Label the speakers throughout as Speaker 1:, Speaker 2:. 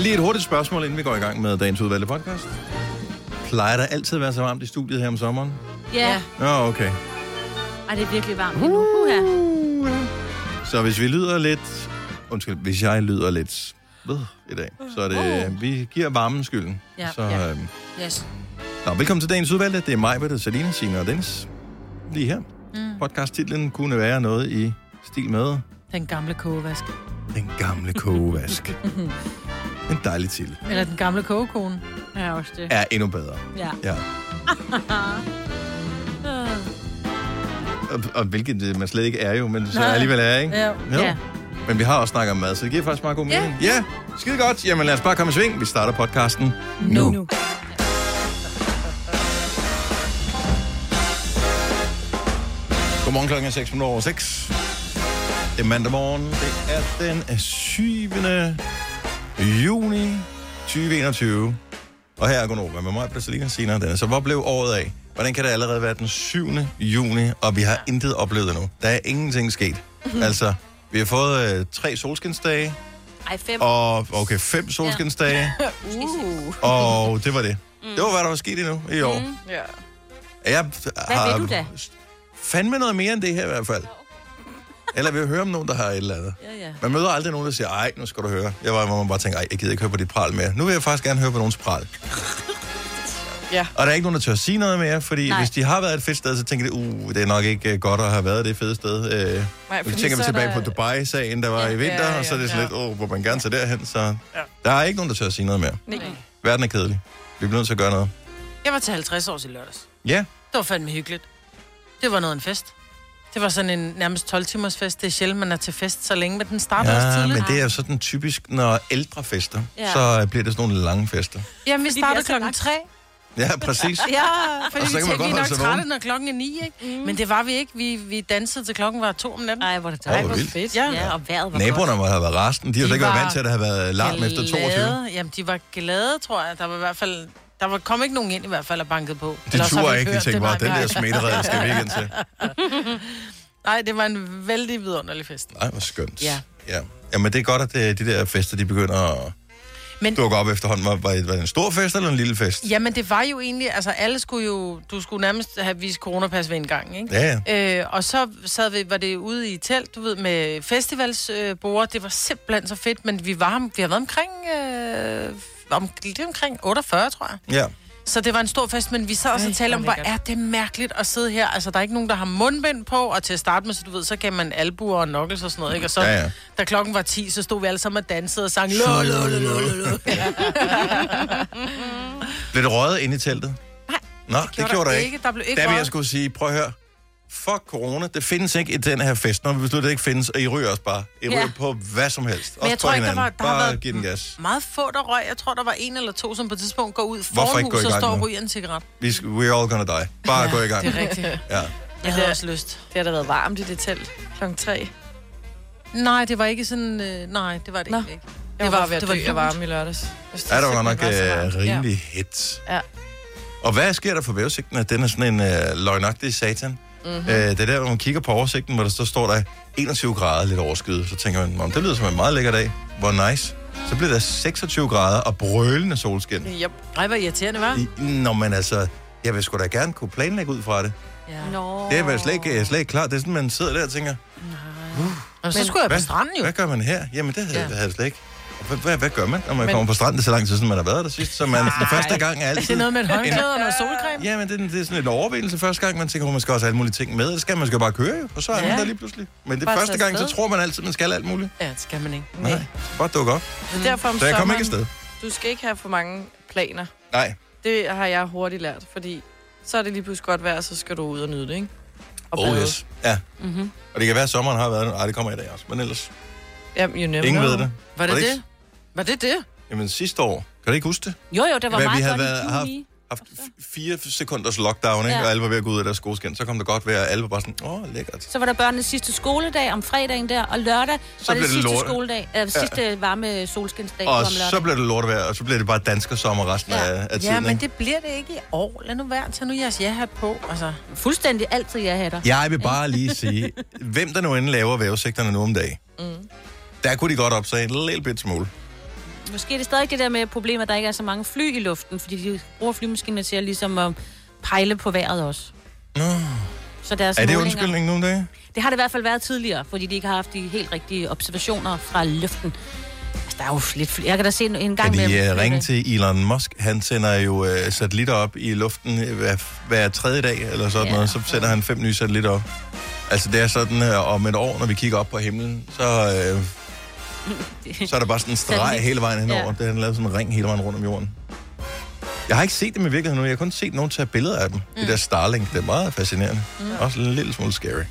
Speaker 1: Lige et hurtigt spørgsmål, inden vi går i gang med dagens udvalgte podcast. Plejer der altid at være så varmt i studiet her om sommeren?
Speaker 2: Ja.
Speaker 1: Ja, okay.
Speaker 2: Ej, det er virkelig varmt lige nu. Uh-huh.
Speaker 1: Så hvis vi lyder lidt... Undskyld, hvis jeg lyder lidt ved i dag, så er det... øh, Vi giver varmen skylden.
Speaker 2: Oh. Ja.
Speaker 1: Så,
Speaker 2: Ja.
Speaker 1: øhm,
Speaker 2: Yes.
Speaker 1: Nå, velkommen til dagens udvalgte. Det er mig, Britta, Salina, Signe og Dennis. Lige her. Mm. Podcasttitlen kunne være noget i stil med
Speaker 3: Den gamle kogevask.
Speaker 1: Den gamle kogevask. en dejlig titel.
Speaker 3: Eller den gamle kogekone.
Speaker 2: Ja, også det.
Speaker 1: Er endnu bedre.
Speaker 2: Ja.
Speaker 1: Ja. og, og hvilket øh, man slet ikke er jo, men så
Speaker 3: Nej.
Speaker 1: alligevel er, ikke?
Speaker 3: Ja.
Speaker 1: Jo.
Speaker 2: Ja.
Speaker 1: Men vi har også snakket om mad, så det giver faktisk meget god mening. Ja, ja skide godt. Jamen lad os bare komme i sving. Vi starter podcasten nu. nu. Godmorgen klokken er 6 over 6. Det er mandag morgen. Det er den 7. juni 2021. Og her er Gunova med mig, Plastilina senere. Den. Så hvor blev året af? Hvordan kan det allerede være den 7. juni, og vi har intet oplevet endnu? Der er ingenting sket.
Speaker 2: Mhm.
Speaker 1: Altså, vi har fået øh, tre solskinsdage,
Speaker 2: Ej, fem.
Speaker 1: og okay, fem solskinsdage,
Speaker 2: Uh.
Speaker 1: og det var det.
Speaker 2: Mm.
Speaker 1: Det var, hvad der var sket endnu i år.
Speaker 4: Mm.
Speaker 1: Ah,
Speaker 3: Ja.
Speaker 1: Jeg har
Speaker 2: Mhm. ved du da?
Speaker 1: fandme noget mere end det her i hvert fald. Eller vi hører om nogen, der har et eller andet.
Speaker 2: Ja, ja.
Speaker 1: Man møder aldrig nogen, der siger, ej, nu skal du høre. Jeg var, hvor man bare tænker, ej, jeg gider ikke høre på dit pral mere. Nu vil jeg faktisk gerne høre på nogens pral.
Speaker 3: Ja.
Speaker 1: Og der er ikke nogen, der tør sige noget mere, fordi Nej.
Speaker 2: Nej.
Speaker 1: hvis de har været et fedt sted, så tænker de, uh, det er nok ikke øh, godt at have været det fede sted. Øh, Nej,
Speaker 3: fordi
Speaker 1: tænker
Speaker 3: så
Speaker 1: vi
Speaker 3: er
Speaker 1: tilbage der...
Speaker 3: der-
Speaker 1: på Dubai-sagen, der var ja, i vinter, ja, ja, og så er det sådan ja. lidt, åh, oh, hvor man gerne tager derhen. Så ja. der er ikke nogen, der tør sige noget mere.
Speaker 3: Nej.
Speaker 1: Verden er kedelig. Vi bliver nødt til at gøre noget.
Speaker 3: Jeg var til 50 år i lørdags.
Speaker 1: Ja,
Speaker 3: Det var fandme hyggeligt. Det var noget af en fest. Det var sådan en nærmest 12-timers fest. Det er sjældent, man er til fest så længe, men den starter også
Speaker 1: ja
Speaker 3: tidligt.
Speaker 1: men det er jo sådan typisk, når ældre fester, ja.
Speaker 2: Ja.
Speaker 1: så øh, bliver det sådan nogle lange fester.
Speaker 3: Jamen, vi
Speaker 2: Fordi de
Speaker 3: startede
Speaker 2: er så
Speaker 3: klokken
Speaker 2: langt.
Speaker 3: 3.
Speaker 1: Ja, præcis.
Speaker 3: Ja, fordi
Speaker 1: Og så
Speaker 3: vi
Speaker 1: kan
Speaker 3: tænkte,
Speaker 1: man godt
Speaker 3: vi er nok
Speaker 1: holde sig
Speaker 3: trætte,
Speaker 1: vågen.
Speaker 3: når klokken er 9, ikke? Mm. Men det var vi ikke. Vi, vi dansede til klokken var 2 om natten.
Speaker 2: Ej, hvor er det
Speaker 1: Åh,
Speaker 2: dejligt.
Speaker 1: hvor vildt.
Speaker 3: fedt.
Speaker 2: Ja, og vejret var
Speaker 1: Naboerne
Speaker 2: godt.
Speaker 1: må have været resten. De har jo
Speaker 3: De
Speaker 1: slet ikke været
Speaker 3: var
Speaker 1: vant til, at der har været larm efter 22.
Speaker 3: Glade. Jamen, de var glade, tror jeg. Der var i hvert fald... Der var, kom ikke nogen ind i hvert fald og bankede på.
Speaker 1: De
Speaker 3: Ellers har
Speaker 1: turer
Speaker 3: vi
Speaker 1: ikke, de
Speaker 3: hørt
Speaker 1: tænker
Speaker 3: det
Speaker 1: bare,
Speaker 3: mange
Speaker 1: den der
Speaker 3: gange."
Speaker 1: smitterede skal vi ikke ind til.
Speaker 3: Nej, det var en vældig vidunderlig fest.
Speaker 1: Nej, hvor skønt.
Speaker 3: Ja.
Speaker 1: ja. Jamen, det er godt, at øh, de der fester, de begynder at
Speaker 3: Men-
Speaker 1: dukke op efterhånden. Var, var, var det en stor fest eller en lille fest?
Speaker 3: Jamen, det var jo egentlig... Altså, alle skulle jo... Du skulle nærmest have vist coronapas ved en gang, ikke?
Speaker 1: Ja, ja.
Speaker 3: Øh, og så sad vi, var det ude i telt, du ved, med festivalsbord. Øh, borde. det var simpelthen så fedt, men vi var, vi har været omkring, øh, om, lige omkring 48, tror jeg.
Speaker 1: Ja.
Speaker 3: Så det var en stor fest, men vi sad og så
Speaker 4: Ej,
Speaker 3: talte om,
Speaker 4: hvor
Speaker 3: hvor
Speaker 4: lækkert.
Speaker 3: er det mærkeligt at sidde her. Altså, der er ikke nogen, der har mundbind på, og til at starte med, så du ved, så gav man albuer og knuckles og sådan noget, ikke? Og så,
Speaker 1: Ja, ja.
Speaker 3: da klokken var 10, så stod vi alle sammen og dansede og sang, lå, lå, lå, lå, lå.
Speaker 1: Blev det røget inde i teltet? Nej, Nå, det gjorde, der ikke.
Speaker 3: Der blev ikke
Speaker 1: Der vil jeg
Speaker 3: røget.
Speaker 1: skulle sige, prøv at høre. Fuck corona, det findes ikke i den her fest. Når vi beslutter, det ikke findes, og I ryger os bare. I ryger
Speaker 2: Ja.
Speaker 1: på hvad som helst.
Speaker 3: Men jeg
Speaker 1: Også på
Speaker 3: tror ikke, der
Speaker 1: hinanden.
Speaker 3: var, der har
Speaker 1: Bare
Speaker 3: været
Speaker 1: giv den gas.
Speaker 3: meget få, der røg. Jeg tror, der var en eller to, som på et tidspunkt går ud
Speaker 1: Hvorfor
Speaker 3: foran
Speaker 1: ikke gå i
Speaker 3: huset og
Speaker 1: gang
Speaker 3: står og
Speaker 1: nu?
Speaker 3: ryger en cigaret.
Speaker 1: Vi skal, we're all gonna die. Bare ja, gå i gang.
Speaker 3: Det er rigtigt.
Speaker 1: Ja.
Speaker 3: Jeg havde også lyst.
Speaker 4: Det har da været varmt i det telt klokken 3.
Speaker 3: Nej, det var ikke sådan... Øh, nej, det var det
Speaker 4: Nå.
Speaker 3: ikke.
Speaker 4: Jeg det var, ved at dø af
Speaker 3: lunt.
Speaker 4: varme i lørdags. Hvis
Speaker 1: Ja, det var godt nok
Speaker 4: simpelthen var så
Speaker 1: øh,
Speaker 4: varmt.
Speaker 1: rimelig ja. hit.
Speaker 4: Ja.
Speaker 1: Og hvad sker der for vævesigten, at den er sådan en øh, løgnagtig satan?
Speaker 4: Mhm.
Speaker 1: Mm-hmm. Øh, det er der, hvor man kigger på oversigten, hvor der så står der 21 grader lidt overskyet. Så tænker man, om det lyder som en meget lækker dag. Hvor nice. Så bliver der 26 grader og brølende solskin.
Speaker 4: Ja. Yep.
Speaker 3: Ej, hvor irriterende, var.
Speaker 1: I- Nå, men altså, jeg vil sgu da gerne kunne planlægge ud fra det.
Speaker 3: Ja.
Speaker 4: Nå.
Speaker 1: Det er vel slet ikke, jeg er slet ikke klart. Det er sådan, man sidder der og tænker, "Uh,
Speaker 3: Men, så skulle jeg
Speaker 1: hvad,
Speaker 3: på stranden jo.
Speaker 1: hvad gør man her? Jamen, det havde,
Speaker 3: Ja.
Speaker 1: ja. havde jeg slet ikke. Hvad, hvad, hvad gør man, når man men... kommer på stranden? Det er så lang tid siden, man har været der sidst. Så man, den første gang er
Speaker 3: Det
Speaker 1: altid...
Speaker 3: er noget med et håndklæde og noget solcreme.
Speaker 1: Ja, men det, det er sådan en overvindelse første gang, man tænker, at man skal også have alle mulige ting med. Det skal man skal bare køre, jo, og så er ja.
Speaker 3: Ja.
Speaker 1: man der lige pludselig. Men det
Speaker 4: Bare
Speaker 1: første
Speaker 4: tage
Speaker 1: gang, så
Speaker 4: afsted.
Speaker 1: tror man altid, man skal alt muligt.
Speaker 3: Ja, det skal man ikke.
Speaker 1: Nej,
Speaker 4: Nej.
Speaker 1: bare dukke op.
Speaker 4: Så derfor om
Speaker 1: Så jeg kom ikke
Speaker 4: sommeren,
Speaker 1: afsted.
Speaker 4: Du skal ikke have for mange planer.
Speaker 1: Nej,
Speaker 4: Det har jeg hurtigt lært, fordi så er det lige pludselig godt vejr, så skal du ud og nyde det, ikke? Og
Speaker 1: oh
Speaker 4: bade.
Speaker 1: yes. Ja. Mm-hmm.
Speaker 4: Mhm.
Speaker 1: Og det kan være, at sommeren har været... Nej, det kommer i dag også, men ellers...
Speaker 4: Jamen, you never
Speaker 1: Ingen
Speaker 4: know.
Speaker 1: ved det.
Speaker 3: Var det
Speaker 1: ikke-
Speaker 3: det? Var det det?
Speaker 1: Jamen sidste år, kan du ikke huske det?
Speaker 2: Jo, jo, det var
Speaker 1: Hvad vi
Speaker 2: meget
Speaker 1: havde
Speaker 2: godt
Speaker 1: været-
Speaker 2: i juni.
Speaker 1: Haft f- fire sekunders lockdown, ikke?
Speaker 2: Ja.
Speaker 1: Ja. og alle var ved at gå ud af deres skoskin. Så kom det godt vejr, og alle var bare sådan, åh, oh, lækkert.
Speaker 2: Så var der børnenes sidste skoledag om fredagen der, og lørdag var
Speaker 1: blev
Speaker 2: det
Speaker 1: det
Speaker 2: sidste
Speaker 1: lorte.
Speaker 2: skoledag, øh, sidste varme solskinsdag
Speaker 1: Og
Speaker 2: om lørdag.
Speaker 1: så blev det lortevejr, og så blev det bare dansker sommer resten
Speaker 2: Ja.
Speaker 1: af, af tiden.
Speaker 3: Ja, men
Speaker 1: ikke?
Speaker 3: det bliver det ikke i år. Lad nu være. Tag nu jeres ja-hat på. Altså,
Speaker 2: Fuldstændig altid, jeg hatter.
Speaker 1: Jeg vil bare lige sige, hvem der nu end laver vævesigterne nu om dagen, mm. der kunne de godt opsage en lille bit smule.
Speaker 2: måske er det stadig det der med problemet, at der ikke er så mange fly i luften, fordi de bruger flymaskinerne til at ligesom at pejle på vejret også.
Speaker 1: Nå.
Speaker 2: Så deres
Speaker 1: Er det
Speaker 2: målinger-
Speaker 1: undskyldning nogle dage?
Speaker 2: Det har det i hvert fald været tidligere, fordi de ikke har haft de helt rigtige observationer fra luften. Altså, der er jo lidt fly. Jeg kan da se en en gang
Speaker 1: Kan de
Speaker 2: med...
Speaker 1: uh, ringe til Elon Musk? Han sender jo uh, satellitter op i luften øh, hver, hver tredje dag, eller sådan
Speaker 2: Ja.
Speaker 1: ja. noget. Så sender han fem nye satellitter op. Altså, det er sådan, uh, om et år, når vi kigger op på himlen, så, uh, så er der bare sådan en streg
Speaker 2: Satellit.
Speaker 1: hele vejen henover.
Speaker 2: Ja.
Speaker 1: Ja. Det har han lavet sådan en ring hele vejen rundt om jorden. Jeg har ikke set dem i virkeligheden nu. Jeg har kun set nogen tage billeder af dem. Mm. Det der Starlink, det er meget fascinerende. Mm. Også en lille smule scary.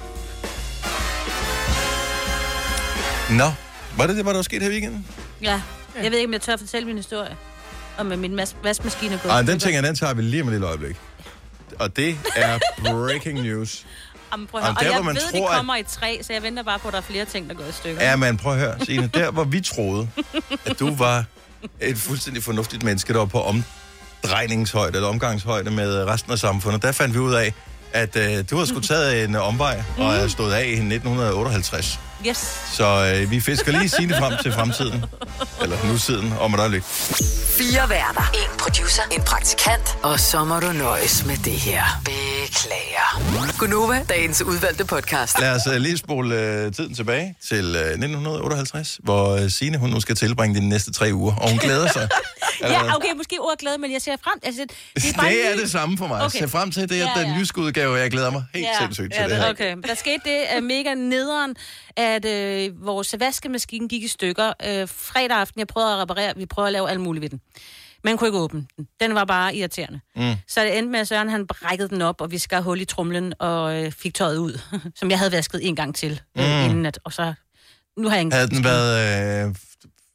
Speaker 1: Nå, var det det, hvad der var sket her i weekenden?
Speaker 2: Ja. Jeg ved ikke, om jeg tør fortælle min historie. Og med min mas- vaskemaskine er gået.
Speaker 1: Ej,
Speaker 2: i
Speaker 1: den
Speaker 2: stykker.
Speaker 1: tænker jeg, den tager vi lige om et lille øjeblik. Og det er breaking news.
Speaker 2: Jamen, prøv at høre.
Speaker 1: Jamen, der,
Speaker 2: og
Speaker 1: hvor man
Speaker 2: jeg ved,
Speaker 1: tror,
Speaker 2: de
Speaker 1: at-
Speaker 2: kommer i tre, så jeg venter bare på, at der er flere ting, der går i stykker.
Speaker 1: Ja, men prøv at høre, Signe, der hvor vi troede, at du var et fuldstændig fornuftigt menneske, der var på omdrejningshøjde eller omgangshøjde med resten af samfundet, der fandt vi ud af, at øh, du havde sgu taget en omvej og er stået af i 1958.
Speaker 2: Yes.
Speaker 1: Så øh, vi fisker lige Signe frem til fremtiden. Eller nutiden, om et øjeblik.
Speaker 5: Fire værter. En producer. En praktikant. Og så må du nøjes med det her. Beklager. Gunova, dagens udvalgte podcast.
Speaker 1: Lad os øh, lige spole øh, tiden tilbage til øh, 1958, hvor øh, Signe, hun nu skal tilbringe de næste tre uger, og hun glæder sig.
Speaker 2: Ja, okay, måske ordglæde, men jeg ser frem. Altså, det, det er bare
Speaker 1: Det er
Speaker 2: lige-
Speaker 1: det samme for mig. Okay.
Speaker 2: Okay.
Speaker 1: Se frem til det, ja,
Speaker 2: Ja,
Speaker 1: den
Speaker 2: ja.
Speaker 1: jyske udgave, jeg glæder mig helt ja. sindssygt til ja, det her.
Speaker 2: Okay. Der skete det uh, mega nederen, at øh, vores vaskemaskine gik i stykker. Øh, fredag aften, jeg prøvede at reparere, vi prøvede at lave alt muligt ved den. Man kunne ikke åbne den. Den var bare irriterende. Mm. Så det endte med, at Søren han brækkede den op, og vi skar hul i trumlen og øh, fik tøjet ud, som jeg havde vasket en gang til øh, inden at, og så... Nu har jeg en
Speaker 1: Mm. Havde den været, øh,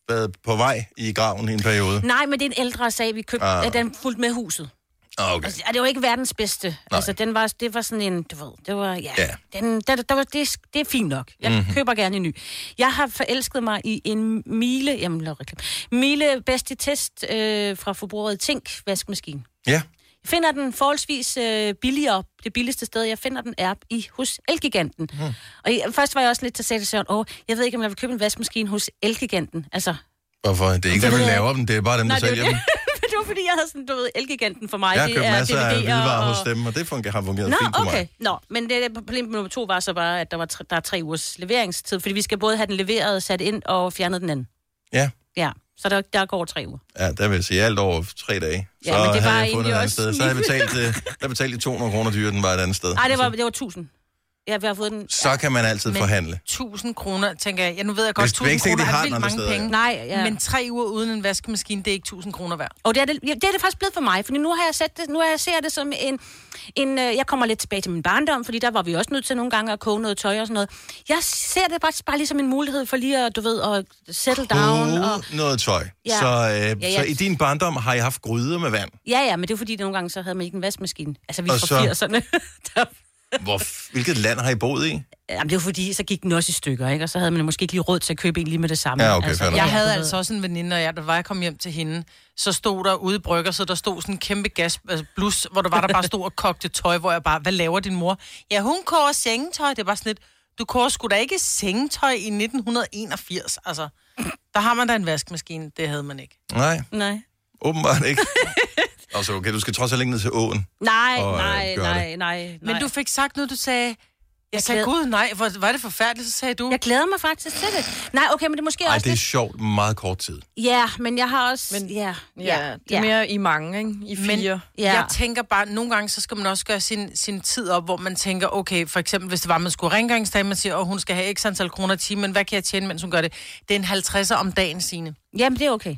Speaker 1: været på vej i graven i en periode?
Speaker 2: Nej, men det er en ældre sag, vi købte.
Speaker 1: Ah.
Speaker 2: Ah. Den fulgte med huset.
Speaker 1: Ah, Okay.
Speaker 2: Altså, og det var ikke verdens bedste. Nej. Altså, den var, det var sådan en, du ved, det var, ja,
Speaker 1: Ja. Mhm.
Speaker 2: ja. Den, der, der var, det, det er fint nok. Jeg mm-hmm. køber gerne en ny. Jeg har forelsket mig i en Miele, jamen, lav reklame, Miele bedste test øh, fra forbruget Tink vaskemaskine.
Speaker 1: Ja.
Speaker 2: Jeg finder den forholdsvis øh, billigere. Det billigste sted, jeg finder den, er i hos Elgiganten. Mm.
Speaker 1: Mhm.
Speaker 2: Og jeg, først var jeg også lidt til at sætte Søren, åh, jeg ved ikke, om jeg vil købe en vaskemaskine hos Elgiganten. Altså,
Speaker 1: Hvorfor? Det er ikke dem,
Speaker 2: ved
Speaker 1: der
Speaker 2: jeg
Speaker 1: laver dem, det er bare dem, der
Speaker 2: Nej, det er
Speaker 1: sælger
Speaker 2: jo
Speaker 1: dem.
Speaker 2: det. det var fordi, jeg havde sådan, du ved, Elgiganten for mig.
Speaker 1: Jeg har
Speaker 2: det
Speaker 1: købt
Speaker 2: er
Speaker 1: masser af
Speaker 2: DVD'er
Speaker 1: hvidevarer hos dem, og det fungerer, har fungeret
Speaker 2: Nå,
Speaker 1: fint for
Speaker 2: okay.
Speaker 1: mig.
Speaker 2: Nå, men det, problem nummer to var så bare, at der, var tre, der er tre ugers leveringstid, fordi vi skal både have den leveret, sat ind og fjernet den anden.
Speaker 1: Ja.
Speaker 2: Ja, så der, der går tre uger.
Speaker 1: Ja, der vil jeg sige alt over tre dage. Så
Speaker 2: Ja, men det var
Speaker 1: havde jeg fundet
Speaker 2: egentlig
Speaker 1: et andet
Speaker 2: også
Speaker 1: sted. Så havde jeg betalt, øh, der betalte de 200 kroner dyrere, den var et andet sted.
Speaker 2: Nej, det var, det var 1000. Ja, vi har fået den...
Speaker 1: Så kan man altid
Speaker 3: Men-
Speaker 1: forhandle.
Speaker 3: 1000 kroner, tænker jeg. Ja, nu ved jeg godt,
Speaker 1: Hvis-
Speaker 3: 1000
Speaker 1: hvis ikke
Speaker 3: kroner
Speaker 1: de har
Speaker 3: er
Speaker 1: den
Speaker 3: vildt
Speaker 1: andre
Speaker 3: mange
Speaker 1: steder,
Speaker 3: penge.
Speaker 2: Nej, ja.
Speaker 3: Men tre uger uden en vaskemaskine, det er ikke 1000 kroner værd.
Speaker 2: Og det er det, ja, det er det faktisk blevet for mig, for nu har jeg sat det, nu har jeg ser det som en, en... øh, Jeg kommer lidt tilbage til min barndom, fordi der var vi også nødt til nogle gange at koge noget tøj og sådan noget. Jeg ser det faktisk bare lige som en mulighed for lige at, du ved, at settle down. Og,
Speaker 1: Ude noget tøj.
Speaker 2: Ja.
Speaker 1: Så, øh,
Speaker 2: Ja,
Speaker 1: ja,
Speaker 2: ja.
Speaker 1: så i din barndom har jeg haft gryder med vand.
Speaker 2: ja, ja, men det er fordi, nogle gange så havde man ikke en vaskemaskine. Altså, vi er
Speaker 1: Og så-
Speaker 2: fra 80'erne. Der-
Speaker 1: Hvor, hvilket land har I boet i?
Speaker 2: Jamen, det var fordi, så gik den også i stykker, ikke? Og så havde man måske ikke lige råd til at købe en lige med det samme.
Speaker 1: Ja, okay, fair nok.
Speaker 3: Jeg
Speaker 2: du
Speaker 3: havde
Speaker 2: ved.
Speaker 3: altså også en veninde, og jeg, der var jeg kom hjem til hende, så stod der ude i brygger, så der stod sådan en kæmpe gas, altså blus, hvor der var der bare stod og kogte tøj, hvor jeg bare, hvad laver din mor? Ja, hun koger sengetøj. Det er bare sådan lidt, du koger sgu da ikke sengetøj i 1981, altså. Der har man da en vaskemaskine, det havde man ikke.
Speaker 1: Nej,
Speaker 2: Nej.
Speaker 1: åbenbart ikke. altså, okay, du skal trods alt ikke ned til åen.
Speaker 2: Nej,
Speaker 1: Og, øh,
Speaker 2: nej,
Speaker 1: gør
Speaker 2: nej, nej,
Speaker 3: Men
Speaker 2: nej.
Speaker 3: du fik sagt noget, du sagde, jeg, jeg sagde,
Speaker 2: sagde,
Speaker 3: gud nej, hvor var det forfærdeligt, så sagde du.
Speaker 2: Jeg glæder mig faktisk til det. Nej, okay, men det er måske
Speaker 1: Nej,
Speaker 2: også
Speaker 1: det er
Speaker 2: lidt...
Speaker 1: sjovt. Meget kort tid.
Speaker 2: Ja, men jeg har også...
Speaker 4: Men-
Speaker 2: ja,
Speaker 4: Ja, det er mere i mange, ikke? I
Speaker 3: Men
Speaker 4: fire.
Speaker 2: Ja.
Speaker 3: jeg tænker bare, nogle gange, så skal man også gøre sin, sin tid op, hvor man tænker, okay, for eksempel, hvis det var, man skulle rengøringsdag, man siger, at hun skal have x antal kroner i timen, men hvad kan jeg tjene, mens hun gør det? Det er en 50'er om dagen, sine.
Speaker 2: Jamen, det er okay.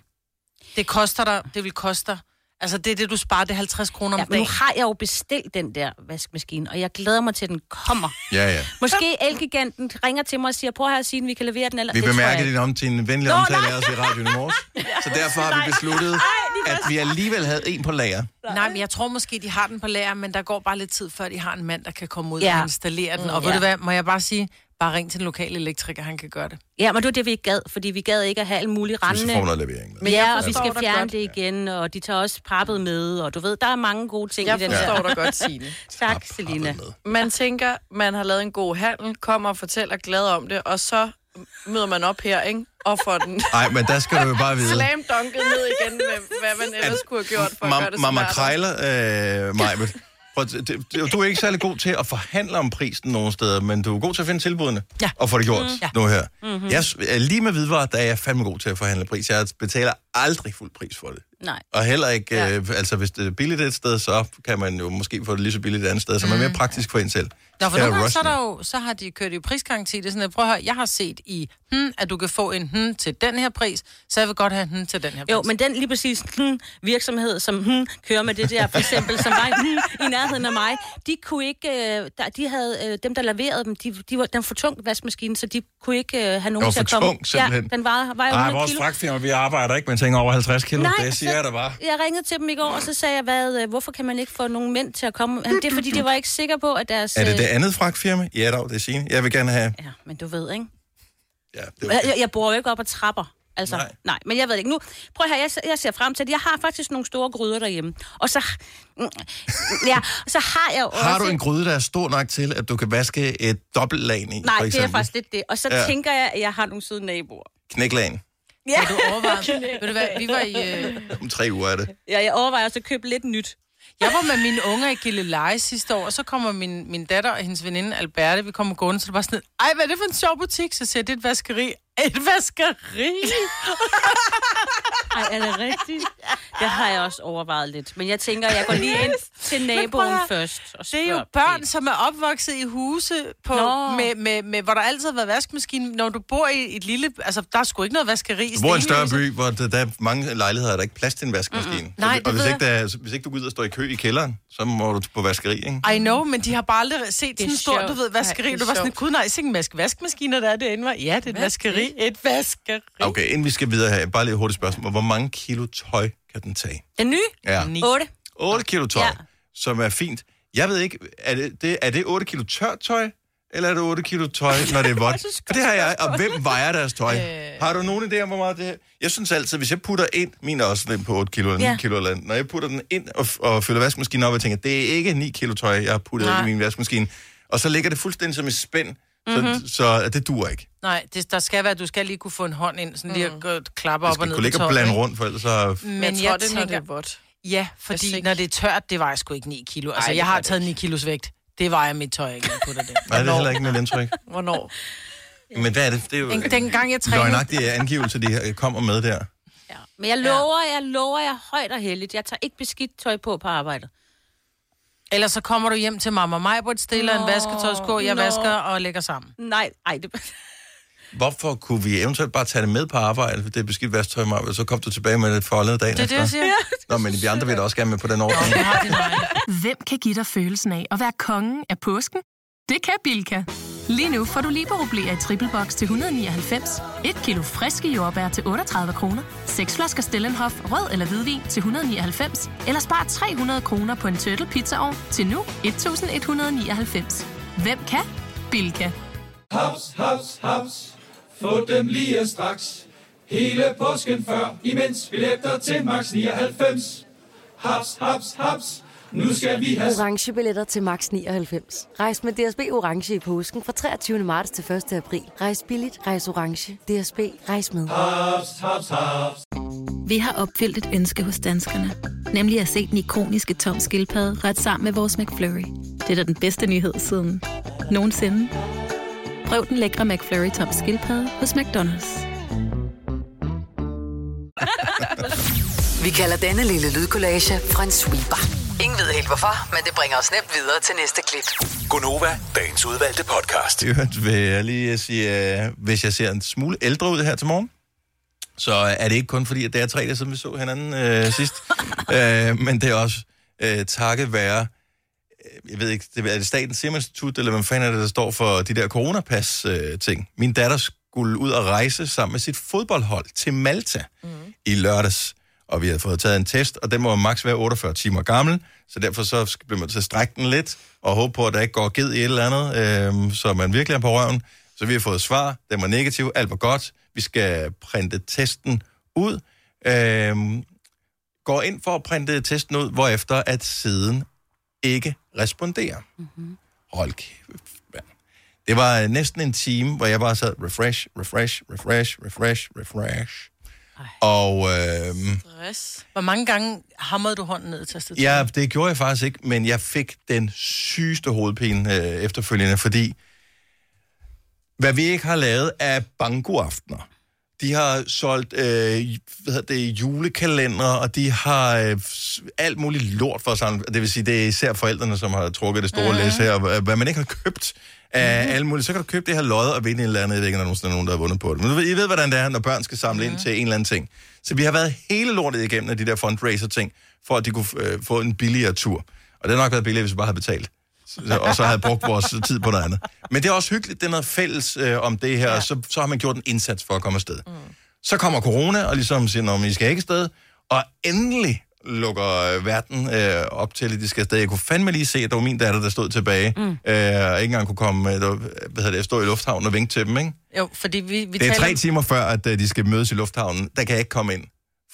Speaker 3: Det koster dig, det vil koste dig. Altså, det er det, du sparer, det er 50 kroner om
Speaker 2: Ja,
Speaker 3: ja,
Speaker 2: men nu
Speaker 3: dagen.
Speaker 2: har jeg jo bestilt den der vaskemaskine, og jeg glæder mig til, at den kommer.
Speaker 1: Ja, ja.
Speaker 2: Måske Elgiganten ringer til mig og siger, prøv her at sige, vi kan levere den. Eller...
Speaker 1: Vi
Speaker 2: Det tror jeg
Speaker 1: bemærkede
Speaker 2: ikke.
Speaker 1: din om til en venlig
Speaker 2: Nå,
Speaker 1: omtale
Speaker 2: nej.
Speaker 1: af os i radioen i morges. Så derfor har vi besluttet, at vi alligevel havde en på lager.
Speaker 3: Nej, men jeg tror måske, de har den på lager, men der går bare lidt tid, før de har en mand, der kan komme ud ja.
Speaker 2: Ja.
Speaker 3: og installere den. Og
Speaker 2: Mm,
Speaker 3: ved
Speaker 2: ja.
Speaker 3: du hvad, må jeg bare sige, bare ring til den lokale elektriker, han kan gøre det.
Speaker 2: Ja, men det var det, vi ikke gad, fordi vi gad ikke at have alle mulige
Speaker 1: Hvis vi
Speaker 2: rendende...
Speaker 1: får noget levering. med.
Speaker 2: Men ja,
Speaker 4: jeg
Speaker 2: og vi
Speaker 4: forstår
Speaker 2: skal
Speaker 4: dig
Speaker 2: fjerne
Speaker 4: godt.
Speaker 2: det igen, og de tager også pappet med, og du ved, der er mange gode ting
Speaker 4: Jeg
Speaker 2: i den der.
Speaker 4: forstår dig godt, Signe.
Speaker 1: Har
Speaker 2: Tak,
Speaker 1: pappet
Speaker 2: Selina.
Speaker 1: med.
Speaker 4: Man tænker, man har lavet en god handel, kommer og fortæller glad om det, og så møder man op her, ikke? Og får den
Speaker 1: Nej, men der skal du jo bare vide.
Speaker 4: slam dunket ned igen med, hvad man ellers kunne have gjort for at gøre det
Speaker 1: Mamma
Speaker 4: smartere.
Speaker 1: Krejler, øh, Majbet. Prøv, at- det, det, du er ikke særlig god til at forhandle om prisen nogen steder, men du er god til at finde tilbudene
Speaker 3: Ja.
Speaker 1: og få det gjort
Speaker 3: Ja.
Speaker 1: mm. nu her. Mm-hmm. Jeg, s- er lige med hvidvarer, der er jeg fandme god til at forhandle pris. Jeg betaler aldrig fuld pris for det.
Speaker 2: Nej.
Speaker 1: Og heller ikke, ja. øh, altså hvis det er billigt et sted, så kan man jo måske få det lige så billigt et andet sted, så man er mere praktisk for en selv.
Speaker 3: Nå, for
Speaker 1: Jeg er
Speaker 3: nogle gange, så, er
Speaker 1: rusty.
Speaker 3: der jo, så har de kørt i prisgaranti. Det er sådan, at, prøv at høre, jeg har set i, hmm, at du kan få en hmm til den her pris, så jeg vil godt have hmm til den her pris.
Speaker 2: Jo, men den lige præcis hmm, virksomhed, som hmm, kører med det der, for eksempel, som var hmm, i nærheden af mig, de kunne ikke, øh, der, de havde, øh, dem der leverede dem, de, de var, den var for tung vaskemaskine, så de kunne ikke øh, have nogen
Speaker 1: var
Speaker 2: til at
Speaker 1: for
Speaker 2: komme.
Speaker 1: tung, simpelthen.
Speaker 2: Ja, den vejede, vejede
Speaker 1: Nej,
Speaker 2: 100
Speaker 1: vores
Speaker 2: kilo. altså-
Speaker 1: fragtfirma, vi arbejder ikke med ting over 50 kilo. Nej, det siger
Speaker 2: så
Speaker 1: jeg da bare.
Speaker 2: Jeg ringede til dem i går, og så sagde jeg, hvad, øh, hvorfor kan man ikke få nogen mænd til at komme? Han, det er fordi, de var ikke sikre på, at deres...
Speaker 1: Er det det
Speaker 2: øh,
Speaker 1: andet fragtfirma? Ja, dog, det er sine. Jeg vil gerne have...
Speaker 2: Ja, men du ved, ikke?
Speaker 1: Ja, det er
Speaker 2: Jeg,
Speaker 1: okay.
Speaker 2: jeg, jeg bor jo ikke op ad trapper. Altså,
Speaker 1: Nej.
Speaker 2: nej. nej. men jeg ved det ikke. Nu, prøv her, jeg, ser- jeg ser frem til det. Jeg har faktisk nogle store gryder derhjemme. Og så, mm, ja, og så har jeg jo også...
Speaker 1: Har du en gryde, der er stor nok til, at du kan vaske et dobbeltlag i?
Speaker 2: Nej,
Speaker 1: for
Speaker 2: det er
Speaker 1: eksempel?
Speaker 2: faktisk lidt det. Og så
Speaker 1: Ja.
Speaker 2: ja. tænker jeg, at jeg har nogle søde naboer.
Speaker 1: Knæklagen.
Speaker 2: Ja,
Speaker 3: Har du overvejet? Ved du hvad, vi var i... Øh,
Speaker 1: Om tre uger er det.
Speaker 2: ja jeg overvejer også at købe lidt nyt.
Speaker 3: jeg var med mine unger i Gilleleje sidste år, og så kommer min, min datter og hendes veninde Alberte, vi kommer gående, så det var sådan, ej, hvad er det for en sjov butik? Så siger jeg, det er et vaskeri. Et vaskeri?
Speaker 2: Ej, er det rigtigt? Det har jeg også overvejet lidt. Men jeg tænker, jeg går lige ind til
Speaker 3: at
Speaker 2: naboen
Speaker 3: høre,
Speaker 2: først. Og
Speaker 3: Det er jo
Speaker 2: spørger
Speaker 3: børn,
Speaker 2: pænt.
Speaker 3: som er opvokset i huse, på,
Speaker 2: Nå.
Speaker 3: med, med, med, hvor der altid har været vaskemaskine. Når du bor i et lille... Altså, der er sgu ikke noget vaskeri. i
Speaker 1: Du bor i en større
Speaker 3: Stenløse.
Speaker 1: by, hvor der, der er mange lejligheder, der er ikke plads til en vaskemaskine. Mm-hmm.
Speaker 3: Nej,
Speaker 1: og
Speaker 3: det
Speaker 1: hvis
Speaker 3: ved
Speaker 1: ikke, der, er- hvis ikke du går ud og står i kø i kælderen, så må du på vaskeri, ikke?
Speaker 3: I know, men de har bare aldrig set sådan en stor,
Speaker 4: sjovt.
Speaker 3: du ved, vaskeri.
Speaker 4: Ej,
Speaker 3: Ej,
Speaker 4: det er
Speaker 3: du var sådan,
Speaker 4: sjovt.
Speaker 3: gud nej, sikke en vask vaskemaskiner, der er derinde, var. Ja, det er et vaskeri. Et vaskeri.
Speaker 1: Okay, inden vi skal videre her, bare lige et hurtigt spørgsmål. Hvor mange kilo tøj kan den tage?
Speaker 2: Den nye?
Speaker 1: Ja.
Speaker 3: Ni.
Speaker 2: 8.
Speaker 1: 8 kilo tøj, ja.
Speaker 2: Ja.
Speaker 1: som er fint. Jeg ved ikke, er det, det, er det 8 kilo tørt tøj, eller er det 8 kilo tøj, når det er vådt? For det har jeg, og hvem vejer deres tøj? Øh... Har du nogen idé om, hvor meget det her? Jeg synes altid, hvis jeg putter ind, min er også den på 8 kilo eller 9 ja.
Speaker 2: Ja.
Speaker 1: kilo eller andet. Når jeg putter den ind og, og fylder vaskemaskinen op, og jeg tænker, det er ikke 9 kilo tøj, jeg har puttet Nej. i min vaskemaskine. Og så ligger det fuldstændig som et spænd, så, mm-hmm. så, så det duer ikke.
Speaker 3: Nej, det, der skal være, du skal lige kunne få en hånd ind, sådan lige at gå- klappe
Speaker 1: Jeg
Speaker 3: op og
Speaker 1: skal
Speaker 3: ned
Speaker 1: kunne ligge og
Speaker 3: toppen,
Speaker 1: blande
Speaker 3: ikke?
Speaker 1: rundt, for ellers så...
Speaker 3: Men
Speaker 4: Men
Speaker 3: jeg,
Speaker 4: jeg, tror, det er, når det
Speaker 3: tænker,
Speaker 4: er vådt.
Speaker 3: ja, fordi
Speaker 4: Jeg er sikker.
Speaker 3: når det er tørt, det vejer sgu ikke 9 kilo. Altså,
Speaker 4: Ej,
Speaker 3: Ej,
Speaker 4: det
Speaker 3: jeg
Speaker 4: gør
Speaker 3: har
Speaker 4: det
Speaker 3: taget 9 kilos vægt. Det vejer mit tøj ikke, når jeg putter det.
Speaker 1: Nej, det er heller ikke mit indtryk.
Speaker 4: Hvornår?
Speaker 1: Men hvad er det? Det er jo
Speaker 3: Den, den gang jeg trænede,
Speaker 1: løgnagtige angivelse, de øh, kommer med der.
Speaker 2: Men jeg lover, jeg lover, jeg er højt og heldigt. Jeg tager ikke beskidt tøj på på arbejdet.
Speaker 3: Ellers så kommer du hjem til mamma og mig, hvor stiller en vasketøjsko, jeg
Speaker 2: nå.
Speaker 3: vasker og lægger sammen.
Speaker 2: Nej, ej, det...
Speaker 1: Hvorfor kunne vi eventuelt bare tage det med på arbejde, for det er beskidt vasktøj, Maja, og så kom du tilbage med det forholdet dagen
Speaker 3: Det er det, jeg
Speaker 1: efter?
Speaker 3: siger.
Speaker 1: Nå, men vi andre vil da også gerne med på den ordning.
Speaker 3: Jeg har din egen.
Speaker 6: Hvem kan give dig følelsen af at være kongen af påsken? Det kan Bilka! Lige nu får du liberobleer i triple box til 199, et kilo friske jordbær til 38 kroner, seks flasker Stellenhof rød eller hvidvin til 199, eller spar 300 kroner på en turtle pizzaovn til nu 1199. Hvem kan? Bilka!
Speaker 7: Haps, haps, haps. Få dem lige straks. Hele påsken før, imens billetter til max 99. Haps, haps, haps. Nu skal vi have
Speaker 8: orange billetter til max 99. Rejs med DSB orange i påsken fra 23. marts til 1. april. Rejs billigt, rejs orange. DSB rejs med.
Speaker 7: haps, haps, haps.
Speaker 9: Vi har opfyldt et ønske hos danskerne. Nemlig at se den ikoniske tom skildpadde ret sammen med vores McFlurry. Det er da den bedste nyhed siden nogensinde. Prøv den lækre McFlurry tom skildpadde hos McDonald's.
Speaker 5: Vi kalder denne lille lydkollage en sweeper. Ingen ved helt hvorfor, men det bringer os nemt videre til næste klip.
Speaker 10: Gunova, dagens udvalgte podcast.
Speaker 1: I øvrigt vil jeg lige sige, øh, hvis jeg ser en smule ældre ud her til morgen, så er det ikke kun fordi, at det er tre dage siden, vi så hinanden øh, sidst, øh, men det er også øh, takket være, øh, jeg ved ikke, det, er det Statens Serum Institut, eller hvem fanden er det, der står for de der coronapas-ting? Øh, ting? Min datter skulle ud og rejse sammen med sit fodboldhold til Malta mm. i lørdags, og vi havde fået taget en test, og den må maks være 48 timer gammel, så derfor så sk- bliver man til at strække den lidt, og håbe på, at der ikke går ged i et eller andet, øh, så man virkelig er på røven. Så vi har fået svar, den var negativ, alt var godt, vi skal printe testen ud, øh, går ind for at printe testen ud, hvorefter at siden ikke responderer. Mm-hmm. Hold kæft, mand. Det var øh, næsten en time, hvor jeg bare sad refresh, refresh, refresh, refresh, refresh. Og øh,
Speaker 3: Stress. Hvor mange gange hamrede du hånden ned til at
Speaker 1: ja, det gjorde jeg faktisk ikke, men jeg fik den sygeste hovedpine øh, efterfølgende, fordi hvad vi ikke har lavet af bankoaftener. De har solgt øh, hvad hedder det, julekalender, og de har øh, s- alt muligt lort for sig. Det vil sige, det er især forældrene, som har trukket det store læs her. og, øh, Hvad man ikke har købt af mm alle mulige. Så kan du købe det her lod og vinde en eller anden. Jeg ved ikke, om der nogensinde er nogen, der har vundet på det. Men du ved- I ved, hvordan det er, når børn skal samle ind til en eller anden ting. Så vi har været hele lortet igennem af de der fundraiser-ting, for at de kunne øh, få en billigere tur. Og det har nok været billigere, hvis vi bare havde betalt. Så- og så havde brugt vores tid på noget andet. Men det er også hyggeligt, det er noget fælles øh, om det her, ja. så, så har man gjort en indsats for at komme afsted. Mm. Så kommer corona, og ligesom siger, at I skal ikke afsted, og endelig lukker øh, verden øh, op til, at de skal afsted. Jeg kunne fandme lige se, at det var min datter, der stod tilbage, mm. øh, og ikke engang kunne komme, øh, der, var- hvad hedder det, stå i lufthavnen og vinke til dem, ikke?
Speaker 3: Jo, fordi vi, vi
Speaker 1: Vi det er
Speaker 3: taler...
Speaker 1: tre timer før, at øh, de skal mødes i lufthavnen. Der kan jeg ikke komme ind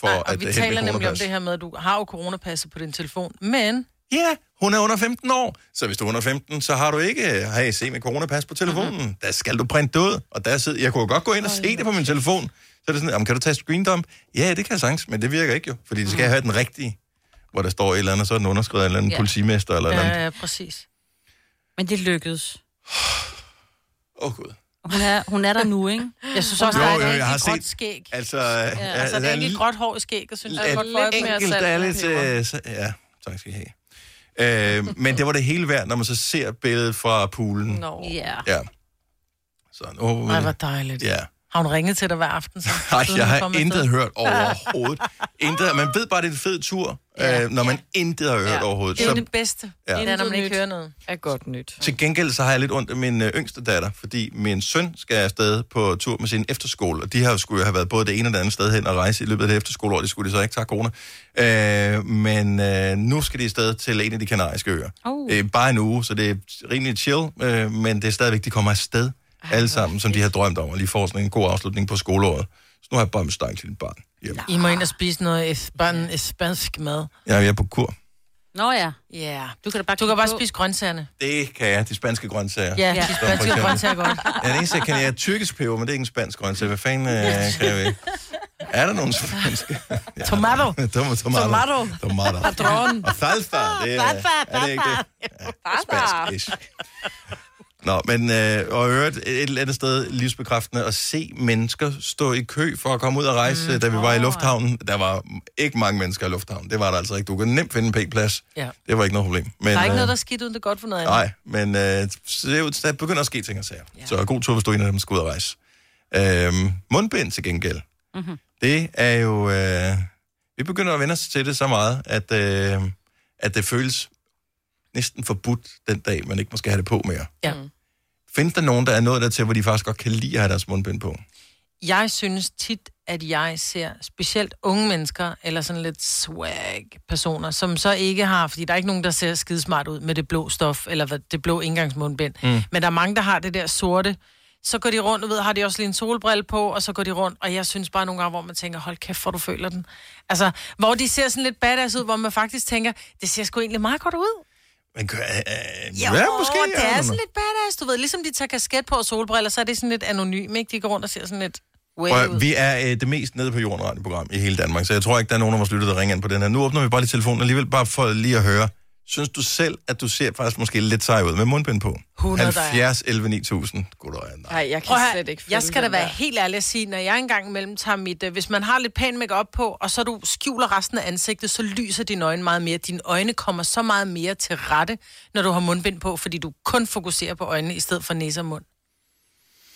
Speaker 1: for Nej,
Speaker 3: og
Speaker 1: at
Speaker 3: vi
Speaker 1: øh,
Speaker 3: taler
Speaker 1: hente
Speaker 3: nemlig om
Speaker 1: coronapas.
Speaker 3: det her med, at du har jo coronapasset på din telefon, men...
Speaker 1: Ja, hun er under 15 år, så hvis du er under 15, så har du ikke øh, hey, se med coronapas på telefonen. Mm-hmm. Der skal du printe det ud, og der sidder, jeg kunne jo godt gå ind og se det på min telefon. Så er det sådan, "Jamen, kan du tage screendump? Ja, det kan jeg sagtens, men det virker ikke jo, fordi det skal have den rigtige, hvor der står et eller andet, så er den underskrevet af en eller anden
Speaker 2: Ja.
Speaker 1: politimester eller noget.
Speaker 3: Ja, ja, præcis.
Speaker 2: Men det lykkedes.
Speaker 1: Åh, oh, Gud.
Speaker 2: Hun er, hun er der nu, ikke?
Speaker 3: Jeg synes også,
Speaker 1: Jo,
Speaker 3: der er
Speaker 1: jo,
Speaker 3: et
Speaker 1: jeg har
Speaker 3: rigtig gråt
Speaker 1: set-
Speaker 3: skæg.
Speaker 1: Altså,
Speaker 3: Ja, altså, det er ikke et gråt hår i skæg, jeg synes,
Speaker 1: Lidt
Speaker 3: jeg godt for
Speaker 1: enkelt, der er lidt... Øh, så, ja, tak skal I have. Øh, men det var det hele værd, når man så ser billedet fra poolen.
Speaker 3: Nå. Ja.
Speaker 1: Ja. Så nu håber vi...
Speaker 3: Ej, hvor dejligt.
Speaker 1: Ja.
Speaker 3: Har hun ringet til dig hver aften? Så,
Speaker 1: Nej,
Speaker 3: siden
Speaker 1: jeg
Speaker 3: hun
Speaker 1: har
Speaker 3: kom
Speaker 1: intet
Speaker 3: afsted?
Speaker 1: hørt overhovedet. intet. Man ved bare, det er en fed tur, ja. øh, når man ja. intet har hørt ja. overhovedet.
Speaker 3: Det er jo
Speaker 1: Så
Speaker 3: det bedste.
Speaker 1: Ja.
Speaker 3: Ja. Det er, når man ikke
Speaker 4: Intet
Speaker 3: hører noget.
Speaker 4: er godt nyt.
Speaker 1: til gengæld så har jeg lidt ondt af min øh, yngste datter, fordi min søn skal afsted på tur med sin efterskole, og de har jo skulle jo have været både det ene og det andet sted hen og rejse i løbet af det efterskoleår. Det skulle de så ikke, tak corona. Øh, men øh, nu skal de afsted til en af de kanariske øer.
Speaker 2: Oh.
Speaker 1: Øh, bare en uge, så det er rimelig chill, øh, men det er stadigvæk, de kommer afsted alle sammen, som de har drømt om, og lige får sådan en god afslutning på skoleåret. Så nu har jeg bare med stang til et barn. Yep.
Speaker 3: I må ind og spise noget espan- spansk mad.
Speaker 1: Ja, jeg er på kur.
Speaker 2: Nå ja.
Speaker 3: Ja.
Speaker 2: Du kan da bare,
Speaker 3: Du kan
Speaker 2: kigge
Speaker 3: bare
Speaker 2: på.
Speaker 3: spise grøntsagerne.
Speaker 1: Det kan jeg, de spanske grøntsager.
Speaker 3: Ja,
Speaker 2: Ja.
Speaker 3: de
Speaker 1: for
Speaker 3: spanske
Speaker 1: eksempel-
Speaker 3: grøntsager er godt.
Speaker 1: Ja, det eneste, jeg kan, jeg er tyrkisk peber, men det er ikke en spansk grøntsag. Hvad fanden øh, kan jeg ved? Er der nogen spanske? Ja,
Speaker 3: Tomato.
Speaker 1: Tomato. Tomato. Tomato.
Speaker 4: Padron.
Speaker 1: Og salsa, det er, er det ikke det? spansk ish. Nå, men øh, og i øvrigt et eller andet sted livsbekræftende at se mennesker stå i kø for at komme ud og rejse, mm. da vi var i lufthavnen. Der var ikke mange mennesker i lufthavnen. Det var der altså ikke. Du kunne nemt finde en p-plads.
Speaker 3: Ja.
Speaker 1: Det var ikke noget problem. Men,
Speaker 3: Der er ikke
Speaker 1: øh,
Speaker 3: noget, der er skidt uden det er godt for noget andet.
Speaker 1: Nej, men øh, så det er jo- der begynder at ske ting og sager. Ja. Så god tur, hvis du er en af dem, der skal ud og rejse. Øhm, mundbind til gengæld. Mm-hmm. Det er jo... Øh, vi begynder at vende os til det så meget, at, øh, at det føles næsten forbudt den dag, man ikke måske have det på mere.
Speaker 3: Ja.
Speaker 1: Findes der nogen, der er nået dertil, hvor de faktisk godt kan lide at have deres mundbind på?
Speaker 3: Jeg synes tit, at jeg ser specielt unge mennesker, eller sådan lidt swag-personer, som så ikke har, fordi der er ikke nogen, der ser skidesmart ud med det blå stof, eller hvad- det blå indgangsmundbind. Mm. Men der er mange, der har det der sorte. Så går de rundt, og ved, har de også lige en solbrille på, og så går de rundt, og jeg synes bare nogle gange, hvor man tænker, hold kæft, hvor du føler den. Altså, hvor de ser sådan lidt badass ud, hvor man faktisk tænker, det ser sgu egentlig meget godt ud.
Speaker 1: Man kan, øh,
Speaker 3: Jo,
Speaker 1: ja, måske.
Speaker 3: det
Speaker 1: I don't
Speaker 3: er
Speaker 1: know.
Speaker 3: sådan lidt badass, du ved. Ligesom de tager kasket på og solbriller, så er det sådan lidt anonym, ikke? De går rundt og ser sådan lidt way
Speaker 1: Prøv,
Speaker 3: ud.
Speaker 1: at- vi er øh, det mest nede på jorden radioprogram i hele Danmark, så jeg tror ikke, der er nogen af vores lytter, der ringer ind på den her. Nu åbner vi bare lige telefonen alligevel, bare for lige at høre. Synes du selv, at du ser faktisk måske lidt sej ud med mundbind på?
Speaker 3: 100 der er.
Speaker 1: 70, 11, 9000. Goddag, nej.
Speaker 4: Nej, jeg kan
Speaker 3: Prøv at høre,
Speaker 4: slet ikke
Speaker 3: jeg skal da
Speaker 4: den
Speaker 3: være
Speaker 4: der.
Speaker 3: helt ærlig at sige, når jeg engang imellem tager mit... Øh, hvis man har lidt pæn makeup på, og så du skjuler resten af ansigtet, så lyser dine øjne meget mere. Dine øjne kommer så meget mere til rette, når du har mundbind på, fordi du kun fokuserer på øjnene i stedet for næse og mund.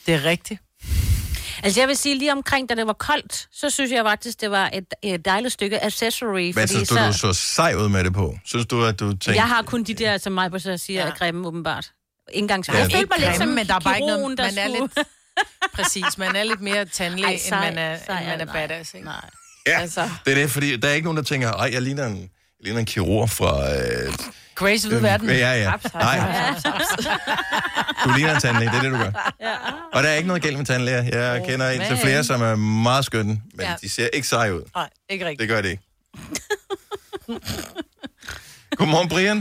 Speaker 3: Det er rigtigt.
Speaker 2: Altså jeg vil sige, lige omkring, da det var koldt, så synes jeg faktisk, det var et, et dejligt stykke accessory.
Speaker 1: Hvad synes du,
Speaker 2: så,
Speaker 1: du så sej ud med det på? Synes du, at du tænker...
Speaker 2: jeg har kun de der, som mig på så siger, ja. er grimme åbenbart.
Speaker 1: Ja.
Speaker 2: Indgangsmæssigt. Jeg følte mig lidt
Speaker 3: Grimme,
Speaker 2: som
Speaker 3: men der er bare ikke noget-
Speaker 2: der
Speaker 3: man er
Speaker 2: skulle...
Speaker 3: Præcis. Man er lidt mere tandlæge,
Speaker 2: Ej,
Speaker 3: Ej,
Speaker 2: sej,
Speaker 3: sej, end man er,
Speaker 2: sej
Speaker 3: sej, end man er
Speaker 2: er nej.
Speaker 3: badass. Ikke?
Speaker 2: Nej.
Speaker 1: Ja,
Speaker 4: Altså.
Speaker 1: det er det, fordi der er ikke nogen, der tænker, ej, jeg ligner en, jeg ligner en kirurg fra... Øh,
Speaker 3: Grace ved
Speaker 1: øh,
Speaker 3: verden.
Speaker 1: Ja, ja.
Speaker 11: altså.
Speaker 1: Nej,
Speaker 4: Haps, haps, haps.
Speaker 1: du ligner en tandlæge, det er det, du gør.
Speaker 2: Ja.
Speaker 1: Og der er ikke noget galt med tandlæger. Jeg kender en til
Speaker 3: men.
Speaker 1: flere, som er meget skønne, men
Speaker 3: Ja.
Speaker 1: de ser ikke seje ud.
Speaker 3: Nej, ikke rigtigt.
Speaker 1: Det gør det ikke. Godmorgen, Brian.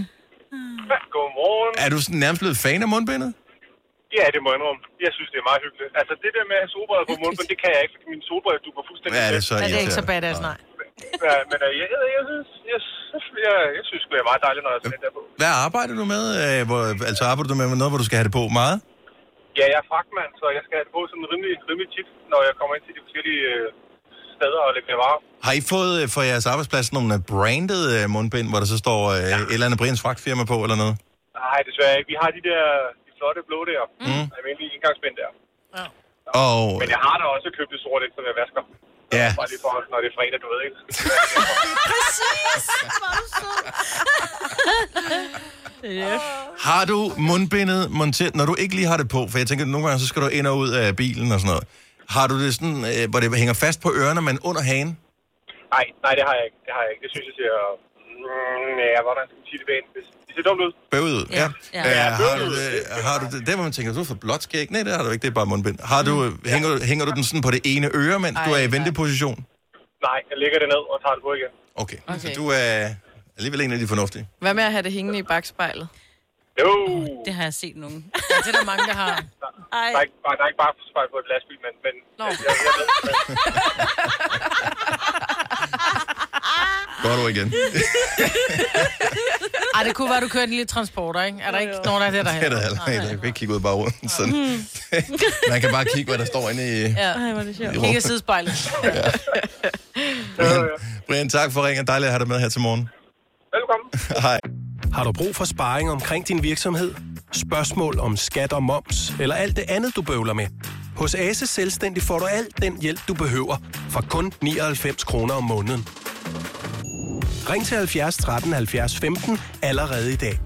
Speaker 12: Godmorgen.
Speaker 1: Er du sådan nærmest blevet fan af mundbindet?
Speaker 12: Ja, det må jeg indrømme. Jeg synes, det er meget hyggeligt. Altså, det der med at have solbriller på munden, det kan jeg ikke, fordi mine solbriller du på fuldstændig...
Speaker 1: Ja, det er så
Speaker 3: Ja, det er ikke så badass, nej.
Speaker 12: Ja, men øh, jeg, jeg, jeg, synes, jeg, jeg, jeg synes, det er meget dejligt, når jeg har sådan et der på.
Speaker 1: Hvad arbejder du med? Øh, Hvor, altså arbejder du med noget, hvor du skal have det på meget?
Speaker 12: Ja, jeg er fragtmand, så jeg skal have det på sådan rimelig, rimelig tit, når jeg kommer ind til de forskellige øh, steder og lægger varer.
Speaker 1: Har I fået øh, for jeres arbejdsplads nogle øh, branded øh, mundbind, hvor der så står øh, et eller andet Brians fragtfirma på eller noget?
Speaker 12: Nej, desværre ikke. Vi har de der de flotte blå der. Mm. Almindelige indgangsbind der.
Speaker 1: Og
Speaker 12: Men jeg har da også købt et sort et, som jeg vasker.
Speaker 1: ja,
Speaker 12: Bare lige for, når det er fredag, du ved ikke.
Speaker 2: Præcis! Hvor er du sød.
Speaker 1: har du mundbindet monteret, når du ikke lige har det på? For jeg tænker, at nogle gange så skal du ind og ud af bilen og sådan noget. Har du det sådan, øh, hvor det hænger fast på ørerne, men under hagen?
Speaker 12: Nej, nej, det har jeg ikke. Det har jeg ikke. Det synes jeg ser... Mm, ja, hvordan skal man sige det pænt? Det- Det ser dumt ud.
Speaker 1: Bøvet ud, ja.
Speaker 12: Ja.
Speaker 1: ja. ja.
Speaker 12: Ja,
Speaker 1: Øh, har du
Speaker 12: bøvet.
Speaker 1: det, har du det, der hvor man tænker, du har fået blåt skæg? Nej, det har du ikke, det er bare mundbind. Har du, øh, hænger, du, hænger du den sådan på det ene øre, mens du
Speaker 12: Ej,
Speaker 1: er i
Speaker 12: nej.
Speaker 1: venteposition?
Speaker 12: Nej, jeg lægger det ned og tager det på igen.
Speaker 1: Okay, okay. så du er alligevel en af de fornuftige.
Speaker 4: Hvad med at have det hængende i bagspejlet?
Speaker 12: Jo!
Speaker 2: Det har jeg set nogen.
Speaker 4: Ja, det er der mange, der har.
Speaker 2: Ej.
Speaker 12: Der er ikke bare, der er ikke bare spejl på et lastbil, men... men
Speaker 4: Nå.
Speaker 12: Jeg, jeg, jeg, ved,
Speaker 1: Går du igen?
Speaker 3: Ej, det kunne være, du kørte en lille transporter, ikke? Er der ikke nogen af det, der
Speaker 1: Det er der heller ikke. Mm. Jeg kan ikke kigge ud bare rundt. Sådan. Man kan bare kigge, hvad der står inde i...
Speaker 3: Ja.
Speaker 4: Ej, hvor er det
Speaker 1: sjovt.
Speaker 3: Kigge i sidespejlet.
Speaker 1: Brian, Brian, tak for ringen. Dejligt at have dig med her til morgen.
Speaker 12: Velkommen.
Speaker 1: Hej.
Speaker 13: Har du brug for sparring omkring din virksomhed? Spørgsmål om skat og moms, eller alt det andet, du bøvler med? Hos Ase Selvstændig får du alt den hjælp, du behøver, for kun 99 kroner om måneden. Ring til 70 13 70 15 allerede i dag.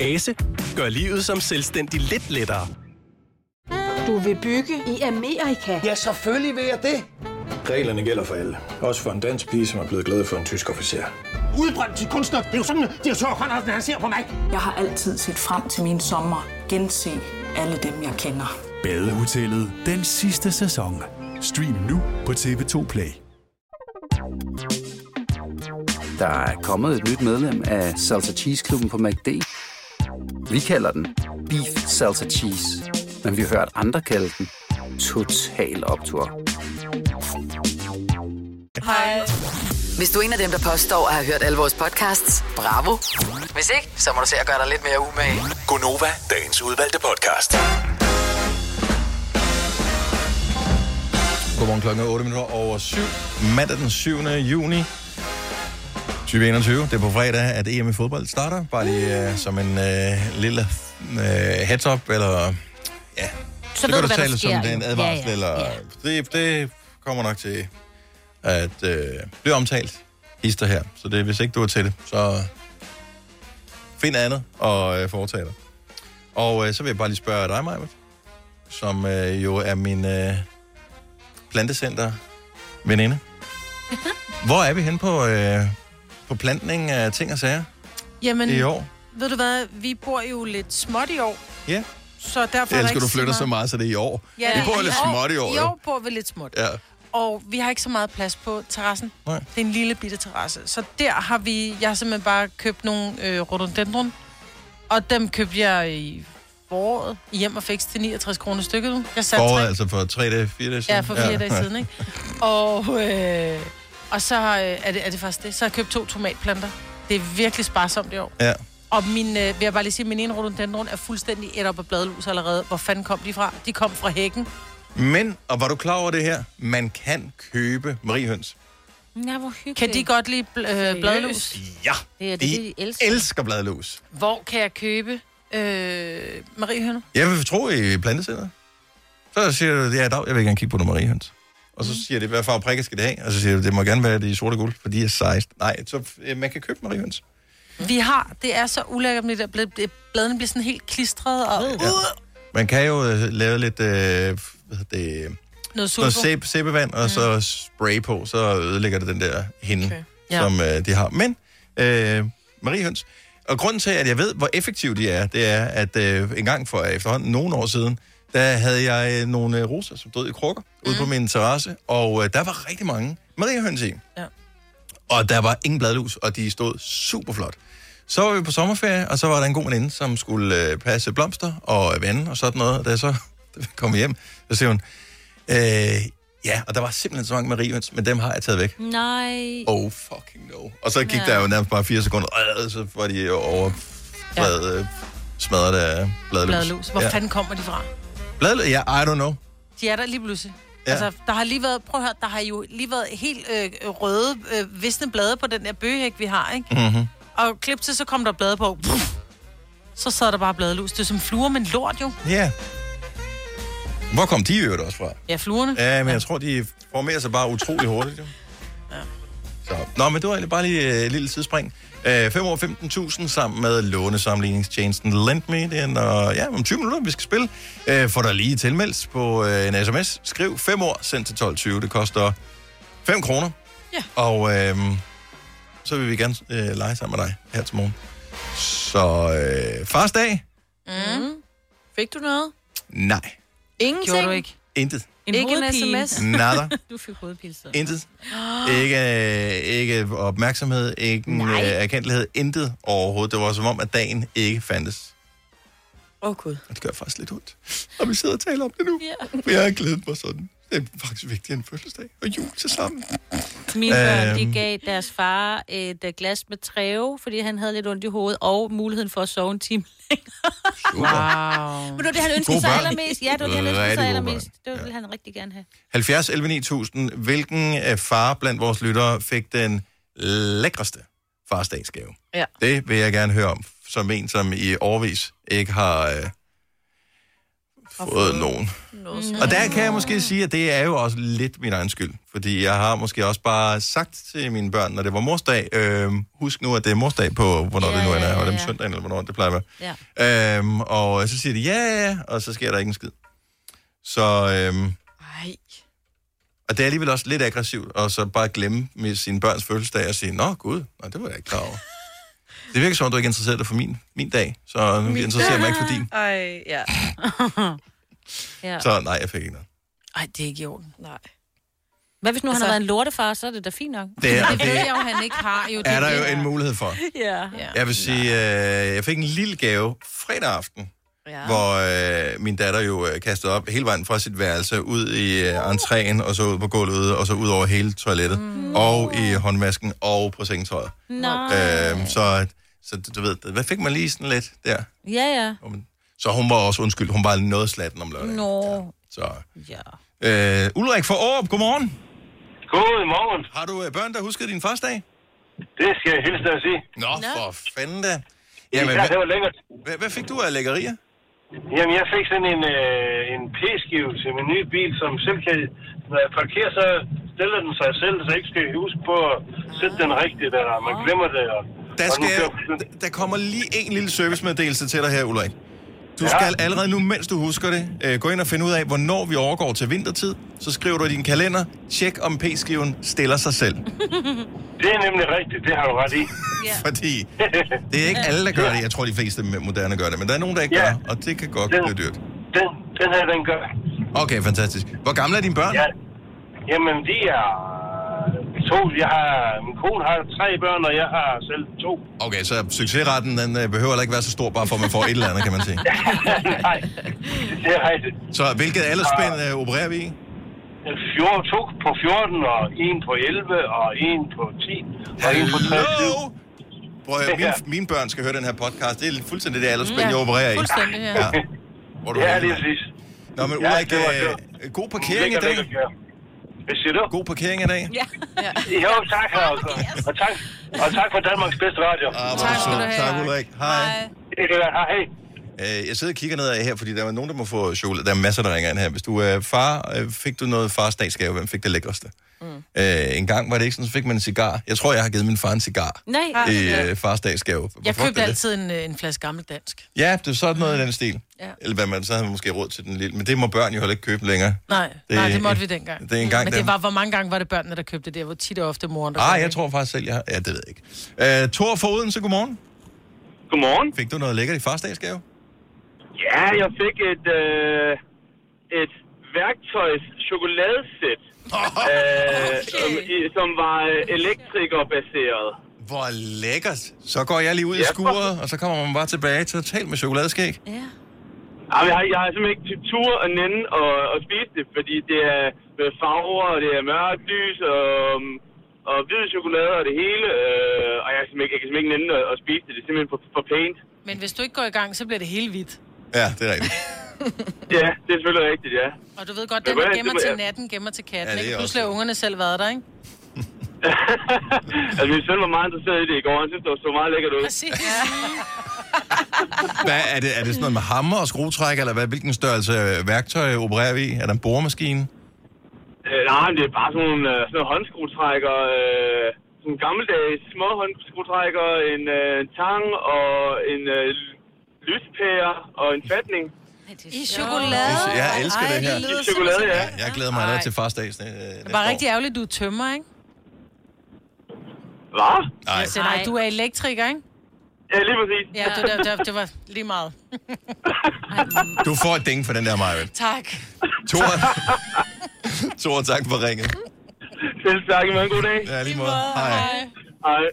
Speaker 13: Ase gør livet som selvstændig lidt lettere.
Speaker 14: Du vil bygge i Amerika? Ja, selvfølgelig vil jeg det.
Speaker 15: Reglerne gælder for alle. Også for en dansk pige, som er blevet glad for en tysk officer.
Speaker 16: Udbrændt til kunstner. Det er jo sådan, at de har Conradsen, han ser på mig. Jeg har altid set frem til min sommer. Gense alle dem, jeg kender.
Speaker 17: Badehotellet den sidste sæson. Stream nu på TV2 Play.
Speaker 18: Der er kommet et nyt medlem af Salsa Cheese Klubben på MACD. Vi kalder den Beef Salsa Cheese, men vi har hørt andre kalde den Total Optor.
Speaker 5: Hej. Hvis du er en af dem, der påstår at have hørt alle vores podcasts, bravo. Hvis ikke, så må du se at gøre dig lidt mere umage.
Speaker 10: Gonova, dagens udvalgte podcast.
Speaker 1: Godmorgen klokken er 8 minutter over 7. Mandag den 7. juni 2021. Det er på fredag, at EM i fodbold starter. Bare lige uh, som en uh, lille uh, heads up, eller... Ja.
Speaker 2: Så ved
Speaker 1: kan
Speaker 2: du, hvad der
Speaker 1: tale det
Speaker 2: sker,
Speaker 1: som det er en
Speaker 2: jo.
Speaker 1: advarsel,
Speaker 2: Ja, ja,
Speaker 1: eller... Det, det kommer nok til at uh, blive omtalt hister her. Så det, hvis ikke du er til det, så find andet og øh, foretage dig. Og øh, så vil jeg bare lige spørge dig, Maja, som øh, jo er min øh, plantecenter veninde. Hvor er vi hen på, øh, på plantning af ting og sager
Speaker 3: Jamen,
Speaker 1: i år?
Speaker 3: ved du hvad? Vi bor jo lidt småt i år,
Speaker 1: Ja.
Speaker 3: så derfor...
Speaker 1: Jeg
Speaker 3: er der
Speaker 1: elsker,
Speaker 3: ikke
Speaker 1: du flytter så
Speaker 3: meget-
Speaker 1: meget, så det er i år. vi bor lidt småt i år.
Speaker 3: I år
Speaker 1: jo.
Speaker 3: bor vi lidt småt.
Speaker 1: Ja.
Speaker 3: Og vi har ikke så meget plads på terrassen.
Speaker 1: Nej.
Speaker 3: Det er en lille bitte terrasse. Så der har vi... Jeg har simpelthen bare købt nogle øh, rhododendron. Og dem købte jeg i foråret i hjem og fik til 69 kroner stykket. nu. Jeg satte
Speaker 1: Foråret,
Speaker 3: tre-
Speaker 1: altså for tre dage, fire dage siden.
Speaker 3: Ja, for fire ja. dage siden, ikke? Og, øh, og så har, øh, er, det, er det faktisk det. Så har jeg købt to tomatplanter. Det er virkelig sparsomt i år.
Speaker 1: Ja.
Speaker 3: Og min, øh, vil jeg bare lige sige, min ene rhododendron er fuldstændig et op af bladlus allerede. Hvor fanden kom de fra? De kom fra hækken.
Speaker 1: Men, og var du klar over det her? Man kan købe mariehøns.
Speaker 2: Ja, hvor hyggeligt.
Speaker 3: Kan de godt lide bl- øh, bladlus?
Speaker 1: Ja,
Speaker 3: Det er det, de elsker.
Speaker 1: elsker bladlus.
Speaker 3: Hvor kan jeg købe øh, mariehønner?
Speaker 1: Jeg vil tro i plantecenteret. Så siger du, ja, dag, jeg vil gerne kigge på nogle mariehøns. Og
Speaker 3: Mm.
Speaker 1: så siger det, hvad farve prikker skal det have? Og så siger du, det må gerne være det i sort og guld, for de er sejst. Nej, så øh, man kan købe mariehøns.
Speaker 3: Vi har, det er så ulækkert, med det der blad- bladene bliver sådan helt klistret og ja. uh,
Speaker 1: Man kan jo øh, lave lidt øh, hvad hedder det,
Speaker 3: noget sulfo. Mm.
Speaker 1: noget sæbe, sæbevand, og så spray på, så ødelægger det den der hende, okay.
Speaker 3: Ja.
Speaker 1: som øh, de har. Men øh, mariehøns, og grunden til, at jeg ved, hvor effektive de er, det er, at øh, en gang for efterhånden nogle år siden, der havde jeg øh, nogle øh, roser, som døde i krukker, mm. ude på min terrasse, og øh, der var rigtig mange mariehøns i.
Speaker 3: Ja.
Speaker 1: Og der var ingen bladlus, og de stod super flot. Så var vi på sommerferie, og så var der en god veninde, som skulle øh, passe blomster og vande og sådan noget. Og da jeg så kom hjem, så siger hun, øh, ja, og der var simpelthen så mange marivens, men dem har jeg taget væk.
Speaker 2: Nej.
Speaker 1: Oh, fucking no. Og så gik
Speaker 2: Ja.
Speaker 1: ja. der jo nærmest bare fire sekunder, og så var de over ja. smadret af bladlus.
Speaker 3: Bladlus. Hvor
Speaker 1: ja.
Speaker 3: ja. fanden kommer de fra?
Speaker 1: Bladlus? Ja, I don't know.
Speaker 3: De er der lige pludselig.
Speaker 1: Ja.
Speaker 3: Ja. Altså, der har lige været, prøv at høre, der har jo lige været helt øh, røde øh, visne blade på den der bøgehæk, vi har, ikke?
Speaker 1: Mm-hmm.
Speaker 3: Og klip til, så kom der blade på. Puff. Så sad der bare bladlus. Det er som fluer, men lort jo.
Speaker 1: Ja. Hvor kom de i øvrigt også fra?
Speaker 3: Ja, fluerne.
Speaker 1: Ja, men jeg tror, de formerer sig bare utrolig hurtigt. Jo. Så. Nå, men det var egentlig bare lige øh, et lille tidsspring. Øh, 5 over 15.000 sammen med lånesamligningstjenesten LendMe. Det er når, ja, om 20 minutter, vi skal spille. Øh, får dig lige tilmeldt på øh, en sms. Skriv 5 år, send til 12.20. Det koster 5 kroner.
Speaker 3: Ja.
Speaker 1: Og øh, så vil vi gerne øh, lege sammen med dig her til morgen. Så øh, fars dag?
Speaker 4: Mm. Fik du noget?
Speaker 1: Nej.
Speaker 4: Ingenting?
Speaker 1: Gjorde du ikke? Intet.
Speaker 4: En ikke en sms?
Speaker 1: Nada.
Speaker 2: Du fik hovedpine. så.
Speaker 1: Intet. Ikke, øh, ikke opmærksomhed, ikke en, øh, erkendelighed, intet overhovedet. Det var som om, at dagen ikke fandtes.
Speaker 4: Åh, oh, Gud.
Speaker 1: Og det gør faktisk lidt ondt. Og vi sidder og taler om det nu.
Speaker 4: Ja.
Speaker 1: For jeg har glædet mig sådan. Det er faktisk vigtigere end fødselsdag og jul til sammen.
Speaker 2: Mine børn,
Speaker 1: Øhm.
Speaker 2: de gav deres far et øh, glas med træve, fordi han havde lidt ondt i hovedet, og muligheden for at sove en time
Speaker 3: Wow.
Speaker 2: Men det var det, han ønskede
Speaker 1: Gode
Speaker 2: sig
Speaker 1: børn.
Speaker 2: allermest. Ja, det var det, han ønskede
Speaker 1: Rigtig
Speaker 2: sig
Speaker 1: gode
Speaker 2: allermest. Det ville han rigtig gerne have.
Speaker 1: 70 11 9000. Hvilken øh, far blandt vores lyttere fik den lækreste farsdagsgave?
Speaker 4: Ja.
Speaker 1: Det vil jeg gerne høre om, som en, som i årvis ikke har øh, fået nogen. Mm. Og der kan jeg måske sige, at det er jo også lidt min egen skyld. Fordi jeg har måske også bare sagt til mine børn, når det var morsdag, øh, husk nu, at det er morsdag på, hvornår ja, det nu er, ja, ja. og det er søndagen, eller hvornår det plejer at
Speaker 2: Ja.
Speaker 1: være. Øhm, og så siger de ja, ja, ja, og så sker der ikke en skid. Så, øhm,
Speaker 4: Ej.
Speaker 1: og det er alligevel også lidt aggressivt, og så bare glemme med sine børns fødselsdag og sige, nå gud, nej, det var jeg ikke klar over. Det virker som om, du ikke interesserer dig for min, min dag, så nu interesserer jeg mig ikke for din.
Speaker 4: Ej, ja.
Speaker 2: ja.
Speaker 1: Så nej, jeg fik ikke noget.
Speaker 3: Ej, det er ikke i orden.
Speaker 4: Nej.
Speaker 2: Hvad hvis nu altså, han har været en lortefar, så er det da fint nok.
Speaker 1: Det er- Det det- ved jeg
Speaker 3: jo, han ikke har. Jo,
Speaker 1: Er der jo en mulighed for?
Speaker 2: Ja.
Speaker 1: Jeg vil sige, øh, jeg fik en lille gave fredag aften,
Speaker 4: ja.
Speaker 1: hvor øh, min datter jo øh, kastede op hele vejen fra sit værelse ud i øh, entréen, og så ud på gulvet, og så ud over hele toilettet, mm. og i håndmasken, og på sengetøjet.
Speaker 2: Nej.
Speaker 1: Øh, så, så du du ved, hvad fik man lige sådan lidt der?
Speaker 2: Ja, ja.
Speaker 1: Så hun var også undskyld, hun var noget slatten om lørdagen.
Speaker 2: Nå.
Speaker 1: Så.
Speaker 2: Ja.
Speaker 1: Øh, Ulrik fra Aarup, godmorgen.
Speaker 12: Godmorgen.
Speaker 1: Har du øh, børn, der husker din første dag?
Speaker 12: Det skal jeg hilse dig at sige.
Speaker 1: Nå, Nå. for fanden da.
Speaker 12: Jamen, ja, det var lækkert.
Speaker 1: Hvad, hvad fik du af lækkerier?
Speaker 12: Jamen, jeg fik sådan en, øh, en p-skive til min nye bil, som selv kan... Når jeg parkerer, så stiller den sig selv, så jeg ikke skal huske på at sætte den rigtigt, eller man glemmer det. Og,
Speaker 1: Der,
Speaker 12: og nu
Speaker 1: skal,
Speaker 12: kører-
Speaker 1: d- der kommer lige en lille servicemeddelelse til dig her, Ulrik. Du skal allerede nu, mens du husker det, øh, gå ind og finde ud af, hvornår vi overgår til vintertid. Så skriver du i din kalender, tjek om p-skiven stiller sig selv.
Speaker 12: Det er nemlig rigtigt, det har du ret i.
Speaker 1: Fordi det er ikke alle, der gør det. Jeg tror, de fleste moderne gør det, men der er nogen, der ikke gør, og det kan godt blive dyrt.
Speaker 12: Den, den her, den gør.
Speaker 1: Okay, fantastisk. Hvor gamle er dine børn?
Speaker 12: Ja. Jamen, de er to. Jeg har, min kone har tre børn, og jeg har selv to.
Speaker 1: Okay, så succesretten den øh, behøver heller ikke være så stor, bare for at man får et eller andet, kan man sige.
Speaker 12: Nej, det er rigtigt.
Speaker 1: Så hvilket aldersspænd øh, opererer vi i?
Speaker 12: En fjor, to på 14, og en på 11, og en på 10, og en på 23.
Speaker 1: Prøv at høre, mine, mine børn skal høre den her podcast. Det er fuldstændig det aldersspænd, jeg opererer i.
Speaker 12: Fuldstændig, ja.
Speaker 1: Hvor er du
Speaker 12: Ja,
Speaker 1: henne,
Speaker 12: lige
Speaker 1: mand?
Speaker 12: præcis.
Speaker 1: Nå, men
Speaker 12: Ja,
Speaker 1: Ulrik,
Speaker 12: det var
Speaker 1: ja, øh, god parkering i
Speaker 12: Lækker,
Speaker 1: dag.
Speaker 12: lækker, ja. Hvad siger du?
Speaker 1: God parkering i dag.
Speaker 2: Ja.
Speaker 12: Jo, tak. Og, og, tak, og tak for Danmarks bedste radio.
Speaker 1: Ah, tak skal du have. Tak, Ulrik. Hej.
Speaker 12: Hej.
Speaker 1: Øh, Jeg sidder og kigger nedad her, fordi der er nogen, der må få chokolade. Der er masser, der ringer ind her. Hvis du er far, øh, fik du noget farsdagsgave? Hvem fik det lækreste? Mm. Øh, en gang var det ikke sådan, så fik man en cigar. Jeg tror, jeg har givet min far en cigar
Speaker 3: Nej.
Speaker 1: i øh, farsdagsgave. Hvor
Speaker 3: Jeg
Speaker 1: fuck er
Speaker 3: købte
Speaker 1: det?
Speaker 3: altid en, øh, en flaske gammel dansk.
Speaker 1: Ja, det er sådan noget i den stil.
Speaker 3: Ja.
Speaker 1: Eller hvad man, så havde man måske råd til den lille. Men det må børn jo heller ikke købe længere.
Speaker 3: Nej, det, nej, det måtte vi dengang.
Speaker 1: Det er engang
Speaker 3: Men det
Speaker 1: dem.
Speaker 3: var, hvor mange gange var det børnene, der købte det? Hvor tit og ofte moren, der
Speaker 1: Ah,
Speaker 3: købte
Speaker 1: jeg tror faktisk selv, jeg har... Ja, det ved jeg ikke. Øh, Thor fra Odense, godmorgen.
Speaker 12: Godmorgen.
Speaker 1: Fik du noget lækkert i farsdagsgave?
Speaker 12: Ja, jeg fik et, øh, et værktøjs chokoladesæt, øh, som, i- som var øh, elektrikerbaseret.
Speaker 1: Hvor lækkert. Så går jeg lige ud i
Speaker 12: Ja.
Speaker 1: skuret, og så kommer man bare tilbage totalt med chokoladeskæg.
Speaker 12: Jamen, jeg, har, jeg har simpelthen ikke til tur at nænde og, og spise det, fordi det er med farver, og det er mørkt lys, og, og hvid chokolade og det hele. Øh, og jeg, kan simpelthen ikke, jeg kan simpelthen ikke nænde at, at spise det. Det er simpelthen for, for pænt.
Speaker 3: Men hvis du ikke går i gang, så bliver det helt hvidt.
Speaker 1: Ja, det er rigtigt.
Speaker 12: Ja, det er selvfølgelig rigtigt, ja.
Speaker 3: Og du ved godt,
Speaker 12: Men
Speaker 3: den
Speaker 12: hvad er
Speaker 3: der
Speaker 12: det,
Speaker 3: gemmer
Speaker 12: du-
Speaker 3: til
Speaker 12: ja.
Speaker 3: natten, gemmer til
Speaker 12: Ja,
Speaker 3: katten.
Speaker 12: det
Speaker 3: Ja,
Speaker 12: er
Speaker 3: ikke?
Speaker 12: også-
Speaker 3: Pludselig har ungerne selv været der, ikke?
Speaker 12: altså, min søn var meget interesseret i det i går. Han synes, det så meget lækkert ud.
Speaker 3: Præcis.
Speaker 1: Hvad er det? Er det sådan noget med hammer og skruetræk, eller hvad, hvilken størrelse øh, værktøj opererer vi i? Er der en boremaskine?
Speaker 12: Øh, nej, men det er bare sådan nogle, øh, sådan nogle håndskruetrækker. Øh, sådan nogle gammeldags små håndskruetrækker, en øh, tang og en øh, lyspære og en fatning.
Speaker 3: I chokolade.
Speaker 1: Jeg elsker
Speaker 3: Ej,
Speaker 1: det her.
Speaker 3: det lyder
Speaker 12: I chokolade,
Speaker 3: simpelthen-
Speaker 12: ja.
Speaker 1: Jeg glæder mig allerede til farsdags. øh,
Speaker 3: Det er
Speaker 1: næste
Speaker 3: bare
Speaker 1: år.
Speaker 3: rigtig ærgerligt, du er tømmer, ikke?
Speaker 12: Hvad?
Speaker 1: Nej.
Speaker 3: Altså, nej, du er elektriker, ikke?
Speaker 12: Ja, lige præcis.
Speaker 3: Ja, det, det, det, det var lige meget.
Speaker 1: Du får et ding for den der, Maja.
Speaker 3: Tak.
Speaker 1: Tor, Tor, tak for ringet.
Speaker 12: Selv tak, men god dag.
Speaker 1: Ja, lige måde. Hej.
Speaker 12: Hej.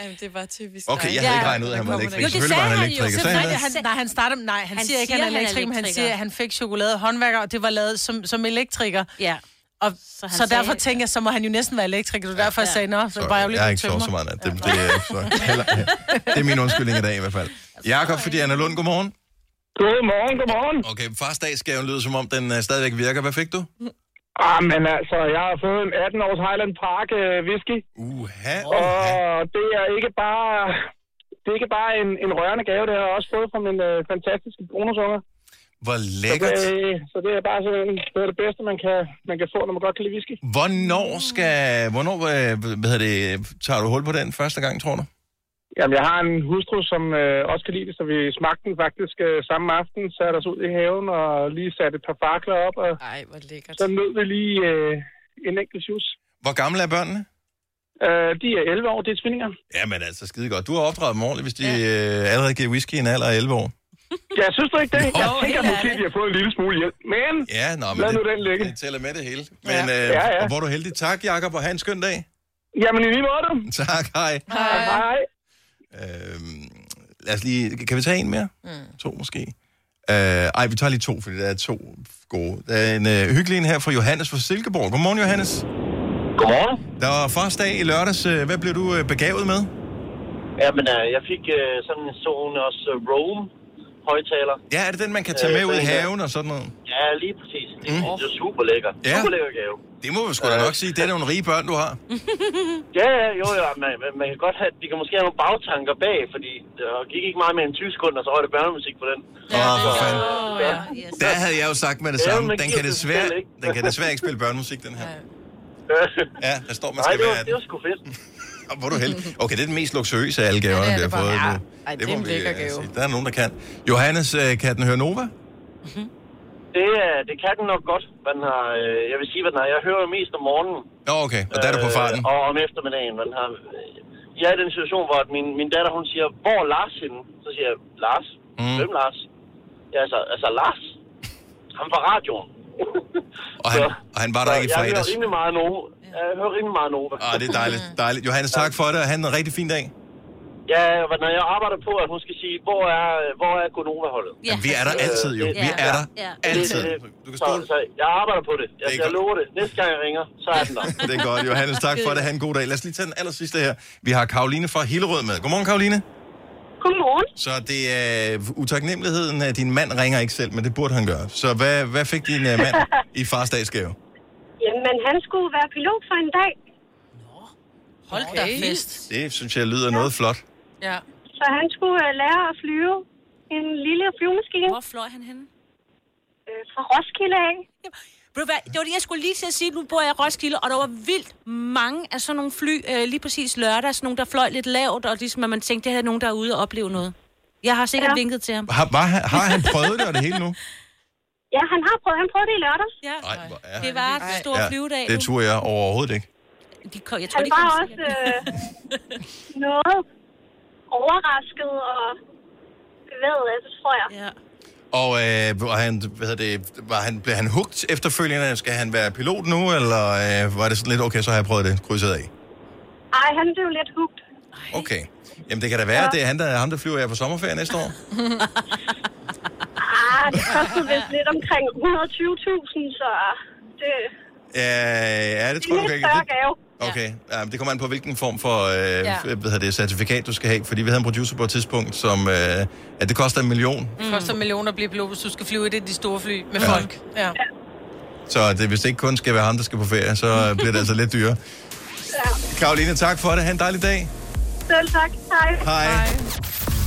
Speaker 4: Jamen, det var typisk
Speaker 1: Okay,
Speaker 4: dig.
Speaker 1: jeg havde ikke regnet ud, at han var elektriker. Selvfølgelig var han elektriker. Sagde han
Speaker 3: Nej,
Speaker 1: det?
Speaker 3: han, nej, han starter, nej, han, han siger ikke, at han er elektriker, men han siger, at han fik chokolade af håndværker, og det var lavet som, som elektriker.
Speaker 2: Ja.
Speaker 3: Og, så,
Speaker 2: han
Speaker 3: så derfor
Speaker 2: sagde-
Speaker 3: tænker jeg, så må han jo næsten være elektriker. Det er derfor, jeg sagde, nå, så bare
Speaker 1: Jeg har
Speaker 3: ærgerligt,
Speaker 1: ikke
Speaker 3: du
Speaker 1: sovet
Speaker 3: tømmer.
Speaker 1: så meget nat. Det, det, er- så, heller, det er min undskyldning i dag i hvert fald. Jakob, fordi Anna Lund, godmorgen.
Speaker 19: Godmorgen, godmorgen.
Speaker 1: Okay, farsdagsgaven lyder som om, den øh, stadigvæk virker. Hvad fik du?
Speaker 19: Ah, men altså, jeg har fået en 18-års Highland Park øh, whisky.
Speaker 1: Uha,
Speaker 19: Og det er ikke bare, det er ikke bare en, en rørende gave, det har jeg også fået fra min øh, fantastiske bonusunger.
Speaker 1: Hvor
Speaker 19: Så
Speaker 1: lækkert.
Speaker 19: det, så det er bare sådan, det er det bedste, man kan, man kan få, når man godt kan lide whisky.
Speaker 1: Hvornår skal... Hvornår, øh, hvad hedder det, tager du hul på den første gang, tror du?
Speaker 19: Jamen, jeg har en hustru, som øh, også kan lide det, så vi smagte den faktisk øh, samme aften, satte os ud i haven og lige satte et par fakler op. Og Ej, hvor lækkert. Så nød vi lige øh, en enkelt sjus.
Speaker 1: Hvor gamle er børnene?
Speaker 19: Øh, de er 11 år, det er tvillinger.
Speaker 1: Jamen altså, skide godt. Du har opdraget dem ordentligt, hvis de øh, allerede giver whisky i en alder af 11 år.
Speaker 19: Jeg synes du ikke det?
Speaker 1: Nå,
Speaker 19: Jeg tænker
Speaker 1: helt
Speaker 19: måske,
Speaker 1: ærligt.
Speaker 19: de har fået en lille smule hjælp. Men
Speaker 1: Ja, nå, men
Speaker 19: lad
Speaker 1: det-
Speaker 19: nu den ligge.
Speaker 1: Det tæller med det hele. Men
Speaker 19: Ja.
Speaker 1: øh,
Speaker 19: Ja, ja.
Speaker 1: og hvor er du heldig. Tak, Jakob, og have en skøn dag.
Speaker 19: Jamen, i lige måde.
Speaker 1: Tak, hej.
Speaker 19: Hej. Hej.
Speaker 1: Øhm, lad os lige... Kan vi tage en mere? Mm. To måske. Øh, ej, vi tager lige to, fordi der er to gode. Der er en øh, hyggelig en her fra Johannes fra Silkeborg. Godmorgen, Johannes.
Speaker 20: Godmorgen.
Speaker 1: Der var fars dag i lørdags. Øh, Hvad blev du øh, begavet med?
Speaker 20: Ja, men øh, jeg fik øh, sådan en Sonos øh, Roam højtaler. Øh,
Speaker 1: Ja, er det den, man kan tage med ud i haven og sådan noget?
Speaker 20: Ja, lige præcis. Det, mm. det er super lækker.
Speaker 1: Ja.
Speaker 20: Super lækker gave.
Speaker 1: Det må vi sgu da nok sige. Det er nogle rige børn, du har.
Speaker 20: Øh, Ja, ja, jo, ja, man, man, man kan godt have, de kan måske have nogle bagtanker bag, fordi der gik ikke meget mere end 20 sekunder, så var det børnemusik på den.
Speaker 1: Åh, oh, for fanden. Der havde jeg jo sagt med det
Speaker 20: Ja,
Speaker 1: samme.
Speaker 20: men
Speaker 1: Den
Speaker 20: giver
Speaker 1: kan
Speaker 20: det
Speaker 1: desværre,
Speaker 20: selv, ikke?
Speaker 1: den kan desværre ikke spille børnemusik, den her. Ja, der står, man
Speaker 20: Nej,
Speaker 1: skal
Speaker 20: det var,
Speaker 1: være
Speaker 20: det var sgu fedt.
Speaker 1: Og hvor er du heldig. Okay, det er den mest luksuriøse af alle gaverne,
Speaker 20: Ja,
Speaker 1: ja,
Speaker 20: det
Speaker 1: vi
Speaker 20: er
Speaker 1: har
Speaker 20: bare-
Speaker 1: fået.
Speaker 20: ja.
Speaker 1: nu.
Speaker 20: Ej, det er
Speaker 1: må
Speaker 20: en
Speaker 1: vi,
Speaker 20: lækker
Speaker 1: øh,
Speaker 20: gave.
Speaker 1: sige. Der er nogen, der kan. Johannes, øh, kan den høre Nova?
Speaker 20: Det, øh, det kan den nok godt. Man har, øh, jeg vil sige, hvad den har. Jeg hører jo mest om morgenen.
Speaker 1: Nå, okay. Og der er du på farten.
Speaker 20: Øh, og om eftermiddagen. Man har, Øh, jeg er i den situation, hvor at min, min datter hun siger, hvor er Lars henne? Så siger jeg, Lars? Mm. Hvem Lars? Ja, altså, altså Lars? Ham fra radioen.
Speaker 1: Og han, og han var der ikke i
Speaker 20: jeg hører
Speaker 1: fredags.
Speaker 20: rimelig meget Nova. Jeg hører rimelig meget Nova.
Speaker 1: Ah, det er dejligt, dejligt. Johannes, tak for det, og han en rigtig fin dag.
Speaker 20: Ja, og når jeg arbejder på, at hun skal sige, hvor er, hvor er Gonova-holdet?
Speaker 1: Ja, vi er der altid, jo. Vi er der altid.
Speaker 20: Du kan stole. Så, så jeg arbejder på det. Altså, Jeg, jeg lover det. Næste gang jeg ringer, så er den der.
Speaker 1: Det er godt, Johannes. Tak for det. Ha' en god dag. Lad os lige tage den aller sidste her. Vi har Karoline fra Hillerød med. Godmorgen, Karoline.
Speaker 11: Godmorgen.
Speaker 1: Så det er øh, utaknemmeligheden, at din mand ringer ikke selv, men det burde han gøre. Så hvad, hvad fik din øh, mand i farsdagsgave?
Speaker 11: Jamen, han skulle være pilot for en dag,
Speaker 3: Hold da fest.
Speaker 1: Det synes jeg lyder noget flot.
Speaker 3: Ja.
Speaker 11: så han skulle øh, lære at flyve en lille flyvemaskine.
Speaker 2: Hvor fløj han henne?
Speaker 11: Øh, fra Roskilde af.
Speaker 2: Ved du hvad, Det var det, jeg skulle lige til at sige. Nu bor jeg i Roskilde, og der var vildt mange af sådan nogle fly, øh, lige præcis lørdag, sådan nogle, der fløj lidt lavt, og ligesom, at man tænkte, det her er nogen, der er ude og opleve noget. Jeg har sikkert
Speaker 11: Ja.
Speaker 2: ja. vinket til ham.
Speaker 1: Har, var, han- har han prøvet det og det hele nu?
Speaker 11: Ja, han har prøvet, han prøvede det i lørdags.
Speaker 2: Ja.
Speaker 1: Ej, hvor er
Speaker 2: Det var en stor ja, flyvedag.
Speaker 1: det turde jeg overhovedet ikke.
Speaker 2: De kom, jeg tror,
Speaker 11: Han
Speaker 2: de
Speaker 11: var
Speaker 2: kom
Speaker 11: også øh, noget overrasket og bevæget af det, tror jeg.
Speaker 2: Ja.
Speaker 1: Og øh, var, han, hvad hedder det, var han, blev han hugt efterfølgende? Skal han være pilot nu, eller øh, var det sådan lidt, okay, så har jeg prøvet det, krydset af?
Speaker 11: Ej, han blev lidt hugt.
Speaker 1: Okay. Jamen, det kan da være, at det er han, der, ham, der flyver jer på sommerferie næste
Speaker 11: ah,
Speaker 1: år.
Speaker 11: det kostede vist lidt omkring 120.000, så det,
Speaker 1: Ja, ja det
Speaker 11: det
Speaker 1: tror
Speaker 11: er
Speaker 1: jeg
Speaker 11: en lidt
Speaker 1: nok ikke.
Speaker 11: større gave.
Speaker 1: Okay, ja, men det kommer an på, hvilken form for øh,
Speaker 11: Ja.
Speaker 1: ja. hvad hedder det, certifikat, du skal have. Fordi vi havde en producer på et tidspunkt, som... Øh, at det koster en million.
Speaker 3: Det Mm. koster millioner at blive pilot, hvis du skal flyve i det de store fly med
Speaker 1: Ja.
Speaker 3: folk. Ja.
Speaker 1: Så det, hvis det ikke kun skal være ham, der skal på ferie, så øh, bliver det altså lidt dyrere. Karoline, tak for det. Ha' en dejlig dag.
Speaker 11: Selv tak. Hej.
Speaker 1: Hej. Hej.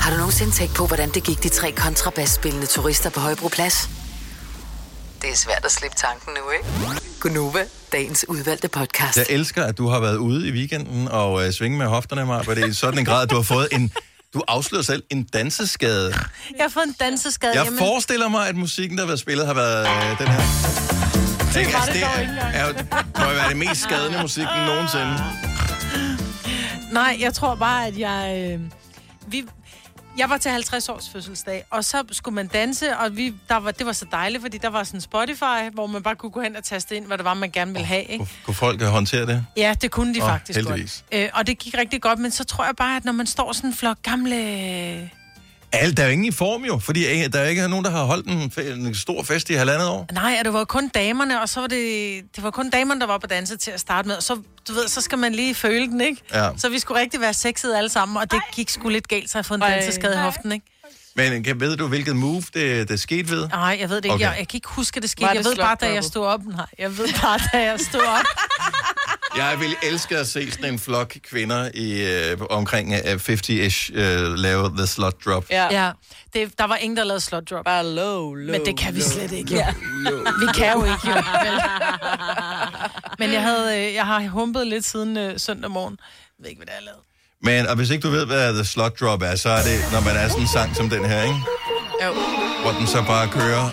Speaker 5: Har du nogensinde tænkt på, hvordan det gik de tre kontrabasspillende turister på Højbroplads? Det er svært at slippe tanken nu, ikke? Gunova, dagens udvalgte podcast.
Speaker 1: Jeg elsker, at du har været ude i weekenden og øh, svinge med hofterne, Maja, for det er i sådan en grad, at du har fået en... Du afslører selv en danseskade.
Speaker 3: Jeg har fået en danseskade
Speaker 1: Jeg
Speaker 3: hjemme.
Speaker 1: forestiller mig, at musikken, der har været spillet, har været øh, den her. Ikke?
Speaker 3: var det
Speaker 1: det
Speaker 3: dog
Speaker 1: er,
Speaker 3: ikke engang.
Speaker 1: er, jo- må jo være det mest skadende musik nogensinde.
Speaker 3: Nej, jeg tror bare, at jeg... Øh, vi, jeg var til 50 års fødselsdag, og så skulle man danse, og vi, der var, det var så dejligt, fordi der var sådan Spotify, hvor man bare kunne gå hen og taste ind, hvad det var, man gerne ville have. Ikke?
Speaker 1: Kunne folk øh, håndtere det?
Speaker 3: Ja, det kunne de
Speaker 1: Åh,
Speaker 3: faktisk
Speaker 1: heldigvis.
Speaker 3: godt. Øh, og det gik rigtig godt, men så tror jeg bare, at når man står sådan en flok gamle...
Speaker 1: Alt, der er jo ingen i form jo, fordi øh, der er ikke nogen, der har holdt en, fe- en stor fest i halvandet år.
Speaker 3: Nej, og det var kun damerne, og så var det, det var kun damerne, der var på danse til at starte med. Og så, du ved, så skal man lige føle den, ikke?
Speaker 1: Ja.
Speaker 3: Så vi skulle rigtig være sexede alle sammen, og det gik sgu lidt galt, så jeg har fået en
Speaker 4: Ej.
Speaker 3: danseskade i hoften, ikke?
Speaker 1: Men kan, ved du, hvilket move det, det skete ved?
Speaker 3: Nej, jeg ved det ikke. Okay.
Speaker 1: Okay.
Speaker 3: Jeg, jeg kan ikke huske, at det skete.
Speaker 4: Var det
Speaker 3: Jeg ved bare, da jeg
Speaker 4: slot-droppet?
Speaker 3: stod op. Nej, jeg ved bare, da jeg stod op.
Speaker 1: Jeg vil elske at se sådan en flok kvinder i øh, omkring øh, 50-ish øh, lave the slot drop.
Speaker 3: Ja. ja. Det, der var ingen, der lavede slot drop. Bare low, low, Men det kan vi slet ikke. Ja. Vi kan jo ikke, jo. Vel? Men jeg, havde, øh, jeg har humpet lidt siden øh, søndag morgen. Jeg ved ikke, hvad det er, jeg lavede.
Speaker 1: Men og hvis ikke du ved, hvad the slot drop er, så er det, når man er sådan en sang som den her, ikke?
Speaker 3: Jo.
Speaker 1: Hvor den så bare kører.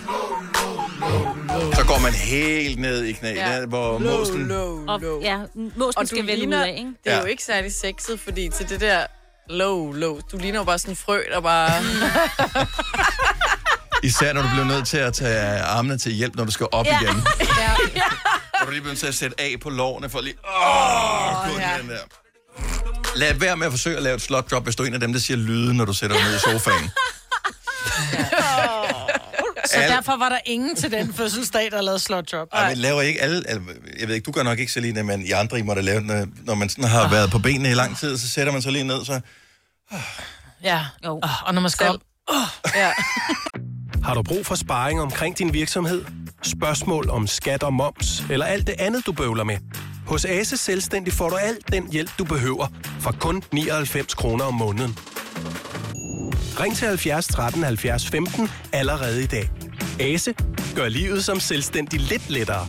Speaker 1: Så går man helt ned i knæet,
Speaker 4: Ja.
Speaker 1: ja. hvor
Speaker 4: Low,
Speaker 1: mosen...
Speaker 2: Og, ja, måsen
Speaker 4: Og du
Speaker 2: skal vælge ud
Speaker 4: ligner,
Speaker 2: af, ikke?
Speaker 4: det er jo
Speaker 1: Ja.
Speaker 4: ikke særlig sexet, fordi til det der low, low, du ligner jo bare sådan en frø, der bare...
Speaker 1: Især når du bliver nødt til at tage armene til hjælp, når du skal op
Speaker 4: Ja.
Speaker 1: igen.
Speaker 4: ja.
Speaker 1: Og du lige bliver nødt til at sætte af på lårene for lige... Åh, oh,
Speaker 4: ja.
Speaker 1: den der. Lad være med at forsøge at lave et slot drop, hvis du er en af dem, der siger lyde, når du sætter dig ned i sofaen.
Speaker 3: Så
Speaker 1: Alle-
Speaker 3: derfor var der ingen til den fødselsdag, der lavede slot drop.
Speaker 1: Ej, men laver ikke alle, alle... Jeg ved ikke, du gør nok ikke, Selina, men I andre, I må da lave, den, øh, når man sådan har været på benene i lang tid, så sætter man sig lige ned, så...
Speaker 3: Ja. Jo. Og når man skal op.
Speaker 13: Har du brug for sparring omkring din virksomhed? Spørgsmål om skat og moms, eller alt det andet, du bøvler med? Hos Ase Selvstændig får du alt den hjælp, du behøver, for kun 99 kroner om måneden. Ring til 70 13 70 15 allerede i dag. Ase gør livet som selvstændig lidt lettere.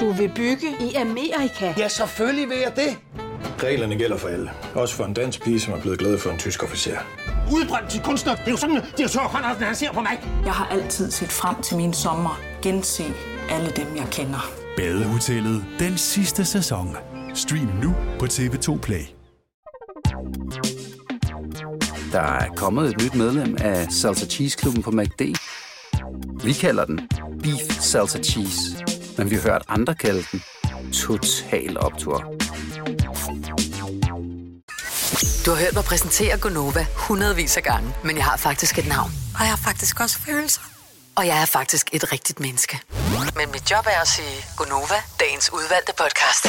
Speaker 14: Du vil bygge i Amerika? Ja, selvfølgelig vil jeg det.
Speaker 15: Reglerne gælder for alle. Også for en dansk pige, som er blevet glad for en tysk officer.
Speaker 16: Udbrændt til kunstner. Det er jo sådan, at de har Conradsen, han ser på mig.
Speaker 13: Jeg har altid set frem til min sommer.
Speaker 16: Gense alle dem, jeg kender.
Speaker 17: Badehotellet den sidste sæson. Stream nu på TV2 Play.
Speaker 18: Der er kommet et nyt medlem af Salsa Cheese Klubben på MACD. Vi kalder den Beef Salsa Cheese, men vi har hørt andre kalde den Total Optor.
Speaker 5: Du har hørt mig præsentere Gunova hundredvis af gange, men jeg har faktisk et navn.
Speaker 21: Og jeg har faktisk også følelser.
Speaker 5: Og jeg er faktisk et rigtigt menneske. Men mit job er at sige Gunova, dagens udvalgte podcast.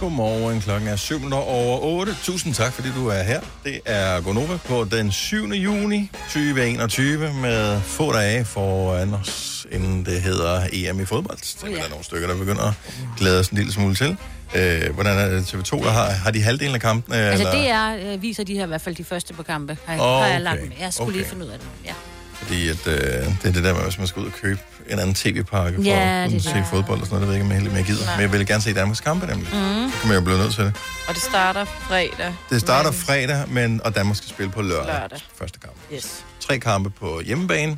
Speaker 1: Godmorgen, klokken er 7 minutter over 8. Tusind tak, fordi du er her. Det er Gonova på den 7. juni 2021 med få dage foran os, inden det hedder EM i fodbold. Det er der nogle stykker, der begynder at glæde os en lille smule til. Øh, hvordan er det TV2, der har, har de halvdelen af kampen?
Speaker 2: Altså, det er, øh, viser de her i hvert fald de første på kampe. Har,
Speaker 1: Åh,
Speaker 2: har jeg lagt
Speaker 1: okay.
Speaker 2: med. Jeg skulle okay. lige
Speaker 1: Okay.
Speaker 2: finde ud af det. Ja.
Speaker 1: Fordi at, øh, det er det der med, hvis man skal ud og købe en anden tv-pakke for
Speaker 2: Ja,
Speaker 1: at kunne
Speaker 2: det
Speaker 1: se
Speaker 2: der.
Speaker 1: fodbold og sådan noget, det ved jeg ikke, om jeg helt mere gider.
Speaker 4: Nej.
Speaker 1: Men jeg vil gerne se Danmarks kampe nemlig.
Speaker 4: Mm.
Speaker 1: Så kan man jo blive nødt til det.
Speaker 4: Og det starter fredag.
Speaker 1: Det starter fredag, men, og Danmark skal spille på lørdag.
Speaker 4: Lørdag.
Speaker 1: Første kamp.
Speaker 4: Yes.
Speaker 1: Tre kampe på hjemmebane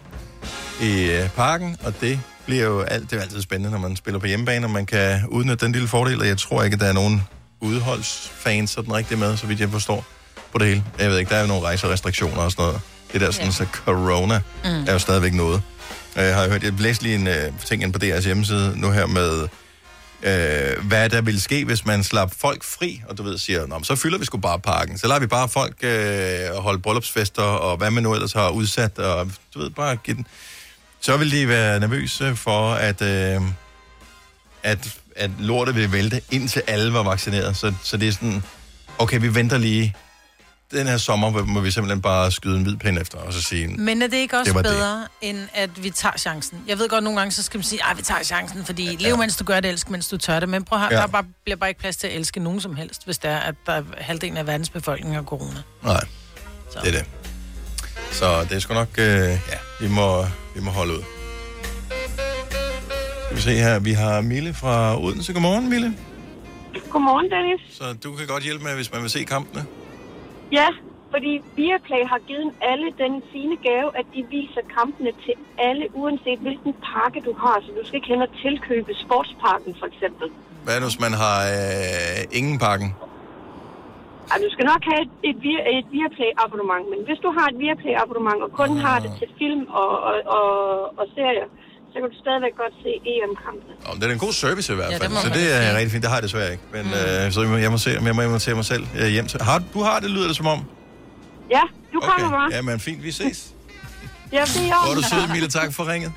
Speaker 1: i øh, parken, og det bliver jo alt, det er jo altid spændende, når man spiller på hjemmebane, og man kan udnytte den lille fordel, og jeg tror ikke, at der er nogen udholdsfans sådan rigtig med, så vidt jeg forstår på det hele. Jeg ved ikke, der er jo nogle rejserestriktioner og sådan noget. Det der sådan, så corona mm. er jo stadigvæk noget. Øh, Jeg har hørt, jeg læste lige en øh, ting inde på DR's hjemmeside nu her med, øh, hvad der ville ske, hvis man slap folk fri, og du ved, siger, Nå, men så fylder vi sgu bare parken, så lader vi bare folk øh, holde bryllupsfester, og hvad man nu ellers har udsat, og du ved, bare give den. Så vil de være nervøse for, at, øh, at, at lortet vil vælte, indtil alle var vaccineret. Så, så det er sådan, okay, vi venter lige. Den her sommer hvor- må vi simpelthen bare skyde en hvid pind efter, og så sige,
Speaker 3: Men er det ikke også
Speaker 1: Det var
Speaker 3: det
Speaker 1: det.
Speaker 3: bedre, det. end at vi tager chancen? Jeg ved godt, nogle gange så skal man sige, at vi tager chancen, fordi ja. lev mens du gør det, elsk mens du tør det. Men prøv, ja.
Speaker 1: Ja.
Speaker 3: der er bare, bliver bare ikke plads til at elske nogen som helst, hvis det er, at der er halvdelen af verdens befolkning har corona.
Speaker 1: Nej, så. det er det. Så det er sgu nok, øh, ja, vi må, vi må holde ud. Skal vi se her, vi har Mille fra Odense. Godmorgen, Mille.
Speaker 11: Godmorgen, Dennis.
Speaker 1: Så du kan godt hjælpe med, hvis man vil se kampene.
Speaker 11: Ja, fordi Viaplay har givet alle den fine gave, at de viser kampene til alle, uanset hvilken pakke du har. Så du skal ikke hen og tilkøbe sportsparken, for eksempel.
Speaker 1: Hvad nu, hvis man har øh, ingen pakken?
Speaker 11: Ej, du skal nok have et, et, Via- et Viaplay-abonnement, men hvis du har et Viaplay-abonnement, og kun har
Speaker 1: Ah.
Speaker 11: det til film og, og, og, og serier, så kan du stadigvæk godt se E EM-kampene.
Speaker 1: Om det er en god service i hvert
Speaker 11: Ja,
Speaker 1: fald,
Speaker 11: det må
Speaker 1: så
Speaker 11: man
Speaker 1: det er
Speaker 11: sige.
Speaker 1: rigtig fint. Det har jeg desværre ikke,
Speaker 2: Mm.
Speaker 1: men øh, så jeg må, jeg må se, om jeg må invitere mig selv øh, hjem til. Har, du- du har det, lyder det som om?
Speaker 11: Ja, du kommer bare.
Speaker 1: Ja, men fint, vi ses.
Speaker 11: Ja, det er i
Speaker 1: Hvor er
Speaker 11: orden.
Speaker 1: du sød, Mille. Tak for ringet.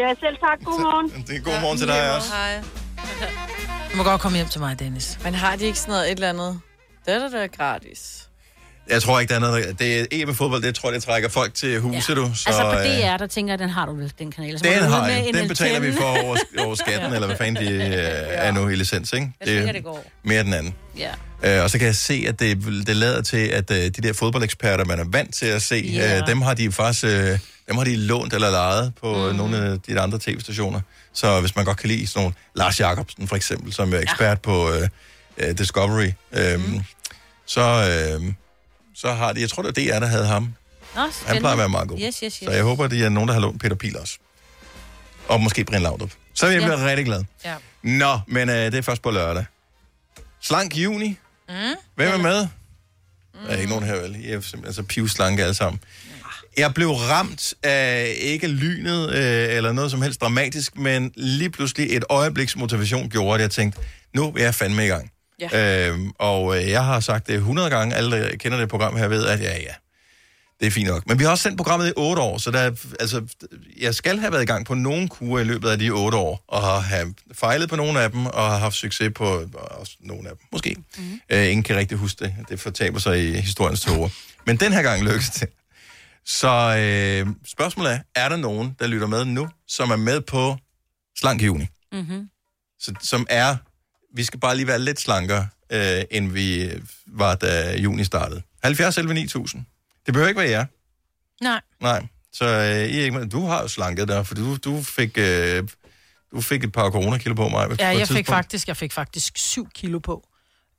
Speaker 11: Ja, selv tak. Godmorgen.
Speaker 1: Det er god morgen til dig også.
Speaker 4: Hej.
Speaker 3: Du må godt komme hjem til mig, Dennis.
Speaker 4: Men har de ikke sådan noget et eller andet? Det er da da gratis.
Speaker 1: Jeg tror ikke, der er noget... der- Det er EM i fodbold, det tror jeg, det trækker folk til huset, ja. du. Så,
Speaker 2: Så, altså på
Speaker 1: øh,
Speaker 2: DR, der tænker jeg, den har du vel, den kanal. Så må
Speaker 1: Den
Speaker 2: du ud
Speaker 1: har
Speaker 2: med
Speaker 1: jeg.
Speaker 2: en
Speaker 1: Den betaler vi
Speaker 2: antenne.
Speaker 1: for over, over skatten, eller hvad fanden de øh, er nu i licens, ikke?
Speaker 2: Jeg tænker, det går.
Speaker 1: mere den anden.
Speaker 2: Ja.
Speaker 1: Øh, og så kan jeg se, at det, det lader til, at øh, de der fodboldeksperter, man er vant til at se,
Speaker 6: Ja.
Speaker 1: øh, dem har de faktisk øh, dem har de lånt eller lejet på mm. nogle af de andre tv-stationer. Så hvis man godt kan lide sådan nogle, Lars Jacobsen for eksempel, som er ekspert ja. på øh, øh, Discovery, øh, mm. så, øh, så har de, jeg tror det var DR, der havde ham.
Speaker 2: Nå, spændende.
Speaker 1: plejer at være meget god.
Speaker 2: Yes, yes, yes.
Speaker 1: Så jeg håber, det er nogen, der har lånt Peter Pil også. Og måske Brian Laudrup. Så vil jeg
Speaker 2: Ja.
Speaker 1: blive rigtig glad.
Speaker 3: Ja.
Speaker 1: Nå, men øh, det er først på lørdag. Slank juni.
Speaker 3: Mm.
Speaker 1: Hvem er med? Der er ikke nogen her, vel? I er simpelthen så pivslanke alle sammen. Jeg blev ramt af ikke lynet øh, eller noget som helst dramatisk, men lige pludselig et øjebliks motivation gjorde, at jeg tænkte, nu er jeg fandme i gang. Ja. Øhm, og øh, jeg har sagt det 100 gange, alle der kender det program her ved, at ja, ja, det er fint nok. Men vi har også sendt programmet i 8 år, så der, er- altså, jeg skal have været i gang på nogle kurer i løbet af de 8 år, og har have fejlet på nogle af dem, og har haft succes på øh, også nogle af dem, måske. Mm. Øh, ingen kan rigtig huske det. Det fortaber sig i historiens tårer. Men den her gang lykkedes det. Så øh, spørgsmålet er, er der nogen, der lytter med nu, som er med på slank juni?
Speaker 2: Mm-hmm.
Speaker 1: så, som er, vi skal bare lige være lidt slankere, øh, end vi var, da juni startede. 70 11 9000. Det behøver ikke være jer.
Speaker 3: Nej.
Speaker 1: Nej. Så øh, I er ikke med. Du har jo slanket dig, for du, du fik... Øh, du fik et par coronakilo på mig.
Speaker 3: Ja, jeg fik, faktisk, jeg fik faktisk 7 kilo på.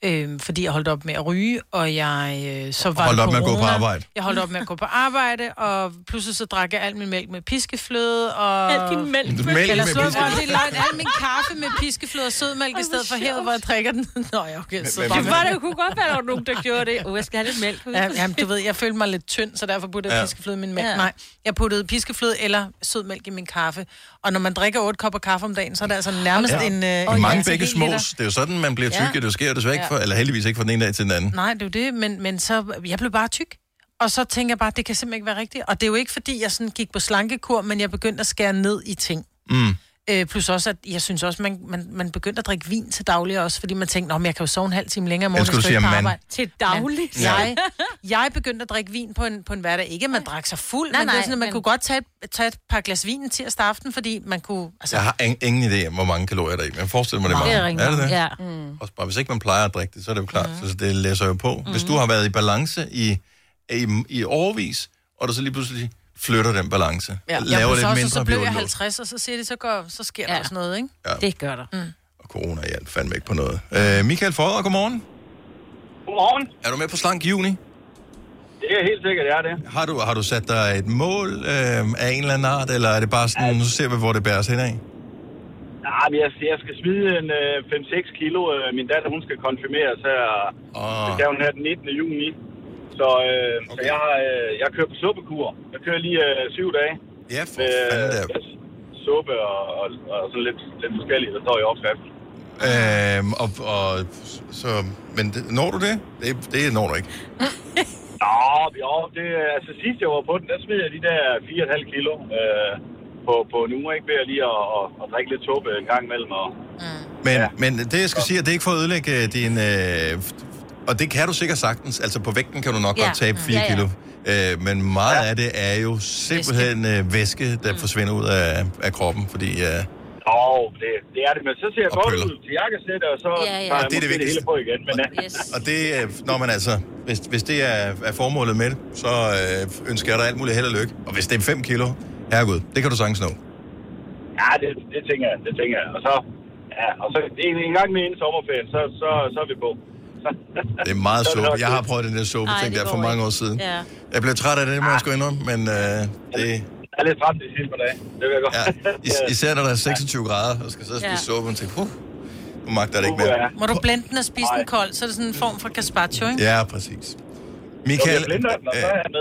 Speaker 3: Øhm, fordi jeg holdt op med at ryge, og jeg øh, så var
Speaker 1: holdt
Speaker 3: det
Speaker 1: op med at gå på
Speaker 3: corona.
Speaker 1: arbejde.
Speaker 3: Jeg holdt op med at gå på arbejde, og pludselig så drak jeg al min mælk med piskefløde. Og...
Speaker 2: Al din mælk med- Mælk
Speaker 3: Eller
Speaker 2: med
Speaker 3: så var
Speaker 2: piskefløde.
Speaker 3: det langt al min kaffe med piskefløde og sødmælk, i stedet for her, hvor jeg drikker den. Nå ja, okay. Så
Speaker 2: Men-
Speaker 3: drak
Speaker 2: Det
Speaker 3: jeg-
Speaker 2: var det jo kunne godt være, der var nogen, der gjorde det. Oh, jeg skal have lidt mælk.
Speaker 3: Ja, jamen, du ved, jeg følte mig lidt tynd, så derfor puttede jeg
Speaker 2: Ja.
Speaker 3: ja. piskefløde i min mælk.
Speaker 2: Ja.
Speaker 3: Ja. Nej, jeg puttede piskefløde eller sødmælk i min kaffe. Og når man drikker 8 kopper kaffe om dagen, så er det altså nærmest ja. en... Øh,
Speaker 1: Øh, Mange
Speaker 3: en
Speaker 1: begge
Speaker 3: hel
Speaker 1: smås.
Speaker 3: liter.
Speaker 1: Det er jo sådan, man bliver
Speaker 3: Ja.
Speaker 1: tyk. Ja. Det sker jo desværre ikke,
Speaker 3: Ja.
Speaker 1: for, eller heldigvis ikke fra den ene dag til den anden.
Speaker 3: Nej, det er jo det, men, men så, jeg blev bare tyk. Og så tænker jeg bare, det kan simpelthen ikke være rigtigt. Og det er jo ikke, fordi jeg sådan gik på slankekur, men jeg begyndte at skære ned i ting.
Speaker 1: Mm.
Speaker 3: Øh, plus også, at jeg synes også, man, man, man begyndte at drikke vin til daglig også, fordi man tænkte, "Nå, men jeg kan jo sove en halv time længere i morgen,
Speaker 1: Elsker, du
Speaker 3: ikke
Speaker 1: siger
Speaker 3: på
Speaker 1: man.
Speaker 3: arbejde."
Speaker 2: Til daglig?
Speaker 3: Men
Speaker 2: Ja.
Speaker 3: Jeg, jeg begyndte at drikke vin på en, på en hverdag. Ikke, at man drak sig fuld,
Speaker 2: Nej,
Speaker 3: nej, men nej, det
Speaker 2: nej,
Speaker 3: er sådan, at man
Speaker 2: men-
Speaker 3: men... kunne godt tage, et- tage et par glas vin en tirsdag aften, fordi man kunne... Altså,
Speaker 1: Jeg har ing- ingen idé om, hvor mange kalorier der er i. Men jeg forestiller mig, det er
Speaker 3: Nej,
Speaker 1: mange.
Speaker 3: det er rigtig
Speaker 1: er det det?
Speaker 3: mange. Ja.
Speaker 1: Mm. Og bare, hvis ikke man plejer at drikke det, så er det jo klart. Mm. Så det læser jeg jo på. Mm. Hvis du har været i balance i, i, i overvis, og du så lige pludselig flytter den balance, ja.
Speaker 3: jeg
Speaker 1: laver
Speaker 3: blev
Speaker 1: lidt
Speaker 3: så, også-
Speaker 1: mindre
Speaker 3: så blev jeg
Speaker 1: bliver det
Speaker 3: 50, og så siger de, så, går, så sker ja. der også noget, ikke?
Speaker 1: Ja.
Speaker 2: Det gør der. Mm.
Speaker 1: lort. Corona hjalp fandme ikke på noget. Øh, Michael Forder, godmorgen.
Speaker 12: Godmorgen.
Speaker 1: Er du med på Slank Juni?
Speaker 12: Det er helt sikkert, jeg er det.
Speaker 1: Har du, har du sat dig et mål øh, af en eller anden art, eller er det bare sådan, nu ser vi, hvor det bærer os henad?
Speaker 12: Nej, men jeg, jeg skal smide en øh, 5-6 kilo. Øh, Min datter, hun skal konfirmeres her.
Speaker 1: Oh.
Speaker 12: Det skal hun her den 19. juni. Så, øh, okay. så jeg, har, øh, jeg kører på suppekur. Jeg kører lige øh, syv dage.
Speaker 1: Ja, for
Speaker 12: fanden da. Suppe og, og, og sådan lidt, lidt forskelligt, der står i opskriften.
Speaker 1: Øhm, og, og, så, men det- når du det? det? Det når du ikke.
Speaker 12: Nå, jo, det, er- altså sidst jeg var på den, der smed jeg de der 4,5 kilo øh, på, på en uge, ikke? Ved at lige at, at, at drikke lidt suppe en gang imellem. Og,
Speaker 1: Men, ja. men det, jeg skal sige, er, det er ikke for at ødelægge øh, din... Øh, og det kan du sikkert sagtens. Altså, på vægten kan du nok
Speaker 12: Ja.
Speaker 1: ja. godt tabe 4
Speaker 12: Ja, ja.
Speaker 1: kilo. Øh, men meget ja. af det er jo simpelthen øh, væske, der mm. forsvinder ud af, af kroppen, fordi... Øh,
Speaker 12: og det, det er det, men så ser jeg
Speaker 1: Og
Speaker 12: godt
Speaker 1: pøller.
Speaker 12: ud til jakkesæt, og så
Speaker 1: Ja,
Speaker 12: ja,
Speaker 1: ja.
Speaker 12: ja. tager
Speaker 1: Og
Speaker 12: jeg
Speaker 1: det er det
Speaker 12: måske det
Speaker 1: vigtigste.
Speaker 12: hele på igen. Men, yes.
Speaker 1: og det, øh, når man altså, hvis, hvis det er, er formålet med det, så øh, ønsker jeg dig alt muligt held og lykke. Og hvis det er 5 kilo, herregud, det kan du sagtens nå.
Speaker 12: Ja, det, det tænker jeg, det tænker jeg. Og så, ja, og så en, en gang med en sommerferien, så, så, så er vi på.
Speaker 1: Det er meget
Speaker 12: Så er det
Speaker 1: suppe.
Speaker 12: nok
Speaker 1: Jeg har
Speaker 12: det.
Speaker 1: prøvet den der suppe
Speaker 12: Ej,
Speaker 1: ting
Speaker 12: det
Speaker 1: der for
Speaker 12: går
Speaker 1: mange
Speaker 12: ikke.
Speaker 1: år siden.
Speaker 12: Ja.
Speaker 1: Jeg blev træt af det, det må jeg sgu indrømme, men øh, det...
Speaker 12: Jeg er lidt træt de sidste par dage. Det vil jeg godt. Ja,
Speaker 1: Is- især når der er 26 grader, og skal sidde og spise
Speaker 3: Ja.
Speaker 1: ja. suppe, og tænke, puh, nu magter jeg det ikke mere.
Speaker 3: Må du blende den og spise den kold, så er det sådan en form for gazpacho, ikke?
Speaker 1: Ja, præcis. Michael, øh,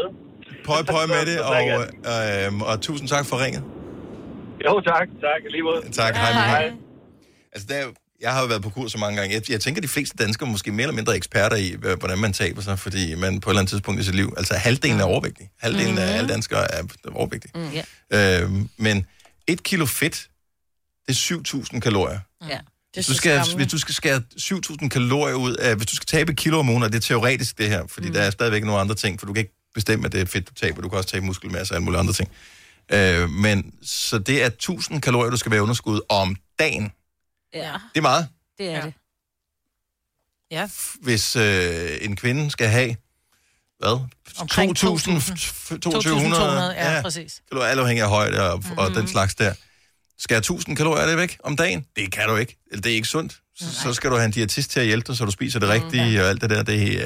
Speaker 1: pøj pøj med det,
Speaker 12: Så
Speaker 1: og,
Speaker 12: drikker
Speaker 1: øh, øh, og tusind tak for ringet.
Speaker 12: Jo, tak. Tak. Lige måde.
Speaker 1: Tak, hej. hej. Altså, der, er jo- jeg har jo været på kurs så mange gange. Jeg, jeg tænker, de fleste danskere er måske mere eller mindre eksperter i, øh, hvordan man taber sig, fordi man på et eller andet tidspunkt i sit liv, altså halvdelen er overvægtig. Halvdelen mm. af alle danskere er overvægtige.
Speaker 2: Mm, ja.
Speaker 1: Øh, men et kilo fedt, det er 7.000 kalorier.
Speaker 2: ja.
Speaker 1: Hvis du, skal, hvis du skal skære 7.000 kalorier ud af, hvis du skal tabe et kilo om ugen, og det er teoretisk det her, fordi mm. der er stadigvæk nogle andre ting, for du kan ikke bestemme, at det er fedt, du taber. Du kan også tabe muskelmasse og alle mulige andre ting. Øh, men så det er 1.000 kalorier, du skal være i underskud om dagen.
Speaker 2: ja,
Speaker 1: Det er meget,
Speaker 2: det er ja. det.
Speaker 3: Ja.
Speaker 1: hvis øh, en kvinde skal have, hvad? 2.200
Speaker 3: 2.200, ja, præcis.
Speaker 1: kalorier, alt afhængig af højde og, mm. og den slags der. Skal 1000 kalorier det væk om dagen? Det kan du ikke. Eller Det er ikke sundt. Så, så skal du have en diætist til at hjælpe dig, så du spiser det rigtige og alt det der. Det, øh,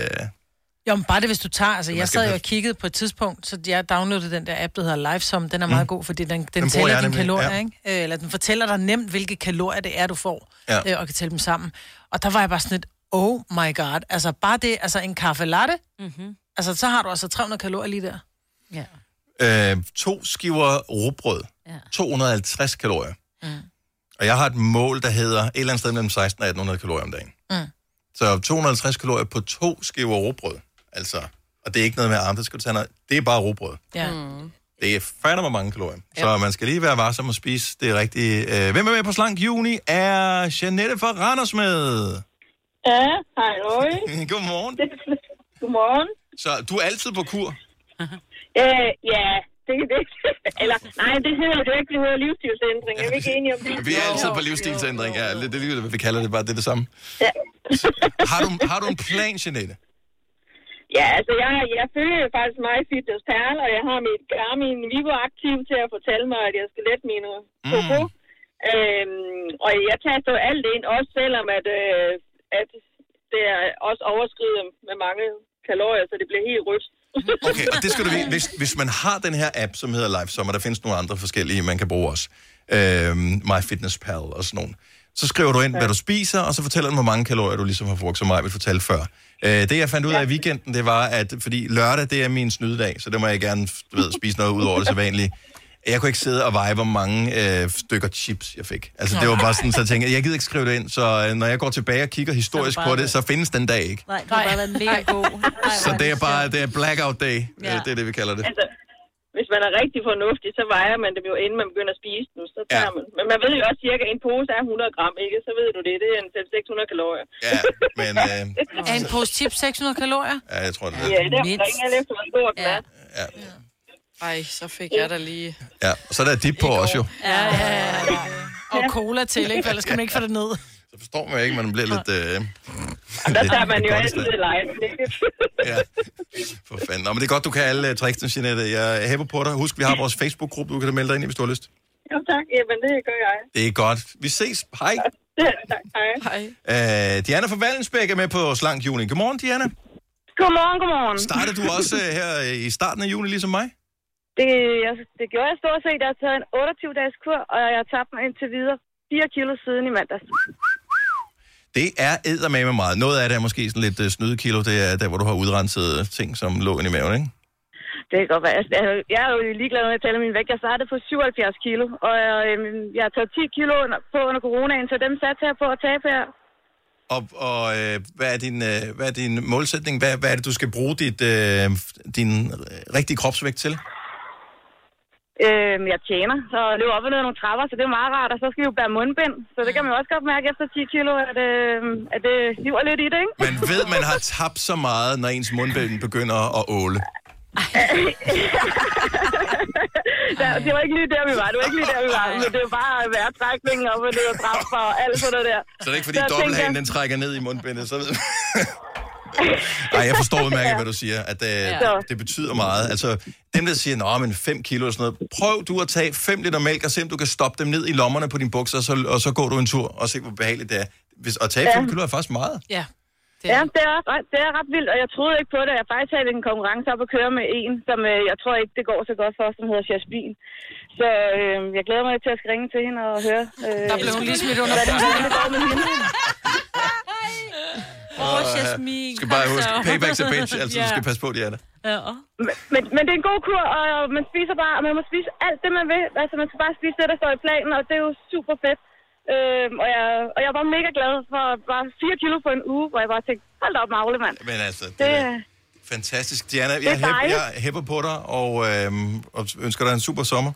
Speaker 3: Jo, men bare det, hvis du tager... Altså,
Speaker 1: Man
Speaker 3: jeg
Speaker 1: skal
Speaker 3: sad jo
Speaker 1: passe-
Speaker 3: og kiggede på et tidspunkt, så jeg downloadede den der app, der hedder Lifesum. Den er meget
Speaker 1: Mm.
Speaker 3: god, fordi den, den,
Speaker 1: bruger
Speaker 3: den tæller dine
Speaker 1: jeg nemlig,
Speaker 3: kalorier,
Speaker 1: ja.
Speaker 3: ja. ikke? Øh, Eller den fortæller dig nemt, hvilke kalorier det er, du får,
Speaker 1: Ja.
Speaker 3: ja. øh, og kan tælle dem sammen. Og der var jeg bare sådan lidt, oh my god. Altså, bare det, altså en kaffe latte, mm-hmm. altså, så har du altså 300 kalorier lige der. Ja.
Speaker 1: øh, to skiver rugbrød. Ja. 250 kalorier.
Speaker 3: Mm.
Speaker 1: Og jeg har et mål, der hedder et eller andet sted mellem 16 og 1800 kalorier om dagen.
Speaker 3: Mm.
Speaker 1: Så 250 kalorier på to skiver rugbrød. Altså, og det er ikke noget med arm, det skal du tage noget. Det er bare rugbrød.
Speaker 3: Ja. Mm.
Speaker 1: Det er fandme mange kalorier. Ja. Så man skal lige være varsom og spise det rigtige. Øh, Hvem er med på Slank Juni? Er Janette fra Randers med?
Speaker 6: Ja, hej, øj.
Speaker 1: Godmorgen.
Speaker 6: Godmorgen.
Speaker 1: Så du er altid på kur?
Speaker 6: Øh, ja, det kan det. Eller, nej, det hedder det ikke. Det hedder livsstilsændring. Er vi ikke enige om det?
Speaker 1: Vi er altid på livsstilsændring. Ja, det er lige, hvad vi kalder det, bare det er det samme.
Speaker 6: Ja.
Speaker 1: Har du, har du en plan, Janette?
Speaker 6: Ja, altså, jeg, jeg følger faktisk mig Fitness Perl, og jeg har mit Garmin Vivo aktiv til at fortælle mig, at jeg skal lette mine koko. Mm. Øhm, og jeg taster jo alt ind, også selvom at, øh, at det er også overskrider med mange kalorier, så det bliver helt rødt.
Speaker 1: Okay, og det skal du vide. Hvis, hvis man har den her app, som hedder Life Summer, der findes nogle andre forskellige, man kan bruge også. Øhm, MyFitnessPal og sådan nogle. Så skriver du ind, hvad du spiser, og så fortæller den, hvor mange kalorier du ligesom har brugt, som mig vil fortælle før. Øh, det, jeg fandt ud af i weekenden, det var, at fordi lørdag, det er min snydedag, så der må jeg gerne du ved, spise noget ud over det sædvanlige. Jeg kunne ikke sidde og veje, hvor mange øh, stykker chips jeg fik. Altså, det var bare sådan, så jeg tænkte, jeg gider ikke skrive det ind, så øh, når jeg går tilbage og kigger historisk
Speaker 2: bare
Speaker 1: på
Speaker 2: det.
Speaker 1: det, så findes den dag ikke.
Speaker 2: Nej, du har bare været mega god. Ej,
Speaker 1: Så det er bare det er blackout day, ja.
Speaker 6: Ja.
Speaker 1: det er det, vi kalder det.
Speaker 6: Altså, hvis man er rigtig fornuftig, så vejer man dem jo, inden man begynder at spise dem. Så tager ja. man. Men man ved jo også cirka, at en pose er 100 gram, ikke? Så ved du det. Det er en 500-600 kalorier.
Speaker 1: Ja, men... Øh,
Speaker 3: Er en pose chips 600 kalorier?
Speaker 1: Ja, jeg tror, det er.
Speaker 6: Ja, det er ringer lidt som en stor ja.
Speaker 4: Ej, så fik jeg da lige...
Speaker 1: Ja, og så er der dip på også jo.
Speaker 3: Ja, ja, ja, ja. Og cola til, ikke? For ellers kan man ikke få det ned.
Speaker 1: Så forstår man jo ikke, man bliver lidt... Øh,
Speaker 6: Der
Speaker 1: lidt-
Speaker 6: tager man
Speaker 1: lidt
Speaker 6: jo
Speaker 1: godt i
Speaker 6: altid
Speaker 1: stand.
Speaker 6: det live.
Speaker 1: Ja, for fanden. Nå, men det er godt, du kan alle øh, tricksene, Jeanette. Jeg hæber på dig. Husk, vi har vores Facebook-gruppe, du kan da melde dig ind i, hvis du har lyst.
Speaker 6: Jo, tak. Jamen, det gør jeg.
Speaker 1: Det er godt. Vi ses. Hej.
Speaker 6: Det er, tak. Hej.
Speaker 1: Øh,
Speaker 6: Hej.
Speaker 1: Diana fra Valensbæk er med på Slank Juni. Godmorgen, Diana.
Speaker 22: Godmorgen, godmorgen.
Speaker 1: Starter du også øh, her øh, i starten af juni, ligesom mig?
Speaker 22: Det, jeg, det gjorde jeg stort set. Jeg har taget en 28-dages kur, og jeg har tabt mig indtil videre 4 kilo siden i mandags.
Speaker 1: Det er eddermame meget. Noget af det er måske sådan lidt øh, snydekilo. Det er der, hvor du har udrenset øh, ting, som lå inde i maven, ikke?
Speaker 22: Det kan godt være. Altså, jeg- jeg er jo ligeglad, når jeg tæller min vægt. Jeg startede på 77 kilo, og jeg, øhm, jeg har taget 10 kilo under, på under coronaen, så dem satte jeg på at tabe her.
Speaker 1: Og, og øh, hvad, er din, øh, hvad er din målsætning? Hvad, hvad er det, du skal bruge dit, øh, din øh, rigtige kropsvægt til?
Speaker 22: Øhm, jeg tjener, så løber op og ned ad nogle trapper, så det er meget rart. Og så skal vi jo bære mundbind, så det kan man jo også godt mærke efter 10 kilo, at, øhm, at det hiver lidt i det, ikke?
Speaker 1: Man ved, man har tabt så meget, når ens mundbind begynder at åle.
Speaker 22: Ja, det var ikke lige der, vi var. Det var ikke lige der, vi var. Men det var bare vejrtrækningen op og ned ad trapper og alt sådan noget der.
Speaker 1: Så det er ikke, fordi
Speaker 22: Så jeg tænker-
Speaker 1: dobbelthagen den trækker ned i mundbindet, så ved man. Ej, jeg forstår udmærket, hvad du siger, at
Speaker 22: Ja.
Speaker 1: øh, det betyder meget. Altså, dem der siger, nå, men 5 kilo og sådan noget, prøv du at tage 5 liter mælk og se, om du kan stoppe dem ned i lommerne på dine bukser, og så, og så går du en tur og se, hvor behageligt det er. Hvis, at tage
Speaker 22: Ja.
Speaker 1: 5 kilo er faktisk meget.
Speaker 3: Ja.
Speaker 22: Det er... Ja, det er, også- det er ret vildt, og jeg troede ikke på det. Jeg har faktisk havde en konkurrence op at køre med en, som øh, jeg tror ikke, det går så godt for, som hedder Jasmin. Så øh, jeg glæder mig til at skal ringe til hende og høre. Øh,
Speaker 3: Der blev hun lige smidt under
Speaker 22: hvad det-
Speaker 3: bussen.
Speaker 22: hvordan det går med hende.
Speaker 1: Og, øh, skal bare huske, paybacks er bitch, altså
Speaker 22: Ja.
Speaker 1: du skal passe på, de er der.
Speaker 22: Men, men, men det er en god kur, og man spiser bare, og man må spise alt det, man vil. Altså, man skal bare spise det, der står i planen, og det er jo super fedt. Øhm, og, jeg, og jeg var mega glad for bare 4 kilo på en uge, hvor jeg bare tænkte, hold da op, magle, mand.
Speaker 1: Men altså, det,
Speaker 22: Det,
Speaker 1: er fantastisk. Diana,
Speaker 22: det er
Speaker 1: jeg, hæb,
Speaker 22: dejligt.
Speaker 1: jeg hæpper på dig, og, øh, og ønsker dig en super sommer.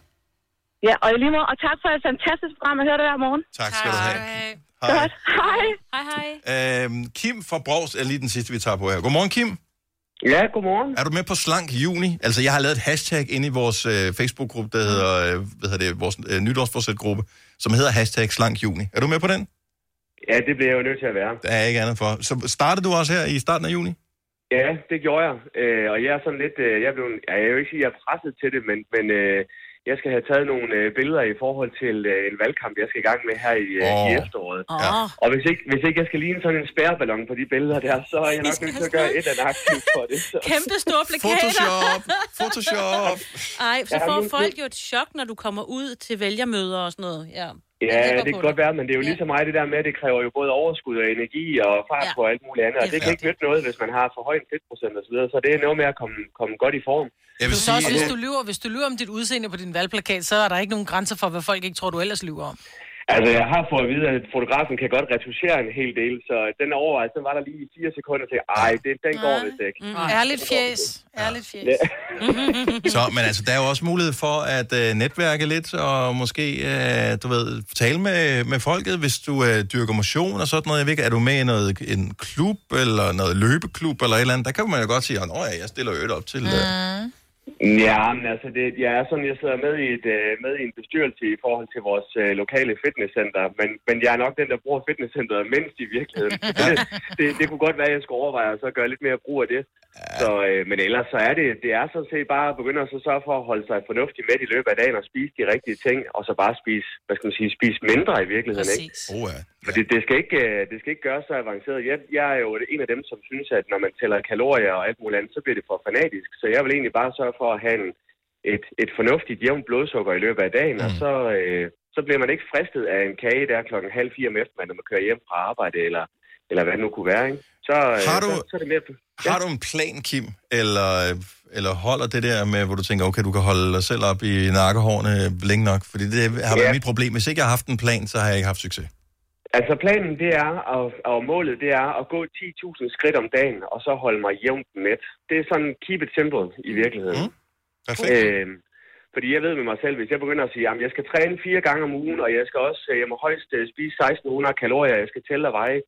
Speaker 22: ja, og i lige måde, og tak for et fantastisk program, jeg hører det hver morgen.
Speaker 1: Tak skal du have.
Speaker 22: Godt. Hej.
Speaker 2: Hej, hej.
Speaker 1: Øhm, Kim fra Brogs er lige den sidste, vi tager på her. Godmorgen, Kim.
Speaker 7: Ja, godmorgen.
Speaker 1: Er du med på Slank Juni? Altså, jeg har lavet et hashtag inde i vores øh, Facebook-gruppe, der hedder, øh, hvad hedder det, vores øh, nytårsforsæt-gruppe, som hedder hashtag Slank Juni. Er du med på den?
Speaker 7: Ja, det bliver jeg jo nødt til at være.
Speaker 1: Der er ikke andet for. Så startede du også her i starten af juni?
Speaker 7: Ja, det gjorde jeg. Øh, og jeg er sådan lidt... Øh, jeg, blev, ja, jeg vil ikke sige, at jeg er presset til det, men, men øh, jeg skal have taget nogle øh, billeder i forhold til øh, en valgkamp, jeg skal i gang med her i, øh, oh. i
Speaker 8: Åh.
Speaker 7: efteråret.
Speaker 8: Ja.
Speaker 7: Og hvis ikke, hvis ikke jeg skal ligne sådan en spærreballon på de billeder der, så er jeg nok nødt til at gøre et eller andet aktivt for det. Så.
Speaker 2: Kæmpe store plakater.
Speaker 7: Photoshop,
Speaker 1: Photoshop.
Speaker 2: Ej, så
Speaker 7: Ja,
Speaker 2: får
Speaker 7: nu-
Speaker 2: folk jo et chok, når du kommer ud til vælgermøder og sådan noget. Ja,
Speaker 7: Ja,
Speaker 2: Jeg hæpper
Speaker 7: det
Speaker 2: på
Speaker 7: kan godt være, men det er jo lige så meget det der med, at det kræver jo både overskud og energi og fart på og alt muligt andet. Og det kan ikke nytte noget, hvis man har for høj en fedtprocent osv., så det er noget med at komme, komme godt i form.
Speaker 1: Jeg
Speaker 3: Du så også, hvis du lyver, hvis du lyver om dit udseende på din valgplakat, så er der ikke nogen grænser for, hvad folk ikke tror, du ellers lyver om.
Speaker 7: Altså, jeg har fået at vide, at fotografen kan godt retuschere en hel del, så den overvejelse den var der lige i fire sekunder til, ej, det, den går vist ikke.
Speaker 3: Mm. Ærligt fjes. Ærligt fjes.
Speaker 7: Ja.
Speaker 1: Så, men altså, der er jo også mulighed for at øh, netværke lidt, og måske, øh, du ved, tale med, med folket, hvis du øh, dyrker motion og sådan noget. Jeg ved ikke, er du med i noget, en klub, eller noget løbeklub, eller et eller andet? Der kan man jo godt sige, at ja, jeg stiller øvrigt op til... Øh,
Speaker 7: Ja, men altså, det, jeg er sådan, jeg sidder med i, et, øh, med i en bestyrelse i forhold til vores øh, lokale fitnesscenter, men, men jeg er nok den, der bruger fitnesscenteret mindst i virkeligheden. det, det, det kunne godt være, at jeg skulle overveje at så gøre lidt mere brug af det. Så, øh, men ellers så er det, det er sådan set bare at begynde at så sørge for at holde sig fornuftigt med i løbet af dagen og spise de rigtige ting, og så bare spise, hvad skal man sige, spise mindre i virkeligheden, ikke?
Speaker 1: Præcis. Oh, ja.
Speaker 7: Fordi det skal ikke, øh, det skal ikke gøres så avanceret. Jeg, jeg er jo en af dem, som synes, at når man tæller kalorier og alt muligt andet, så bliver det for fanatisk. Så jeg vil egentlig bare sørge for at have en, et, et fornuftigt jævnt blodsukker i løbet af dagen, mm. og så, øh, så bliver man ikke fristet af en kage der klokken halv fire om eftermiddagen, når man kører hjem fra arbejde, eller, eller hvad det nu kunne være, ikke? Så, øh,
Speaker 1: Har du-
Speaker 7: så, så er det mere...
Speaker 1: Har du en plan, Kim, eller, eller holder det der med, hvor du tænker, okay, du kan holde dig selv op i nakkehårene længe nok? Fordi det har været
Speaker 7: Ja.
Speaker 1: mit problem. Hvis ikke jeg har haft en plan, så har jeg ikke haft succes.
Speaker 7: Altså planen det er, og, og målet det er at gå 10.000 skridt om dagen, og så holde mig jævnt med. Det er sådan keep it simple i virkeligheden. Mm.
Speaker 1: Perfekt.
Speaker 7: Øhm, fordi jeg ved med mig selv, hvis jeg begynder at sige, at jeg skal træne fire gange om ugen, og jeg skal også, øh, jeg må højst øh, spise 1600 kalorier, jeg skal tælle og veje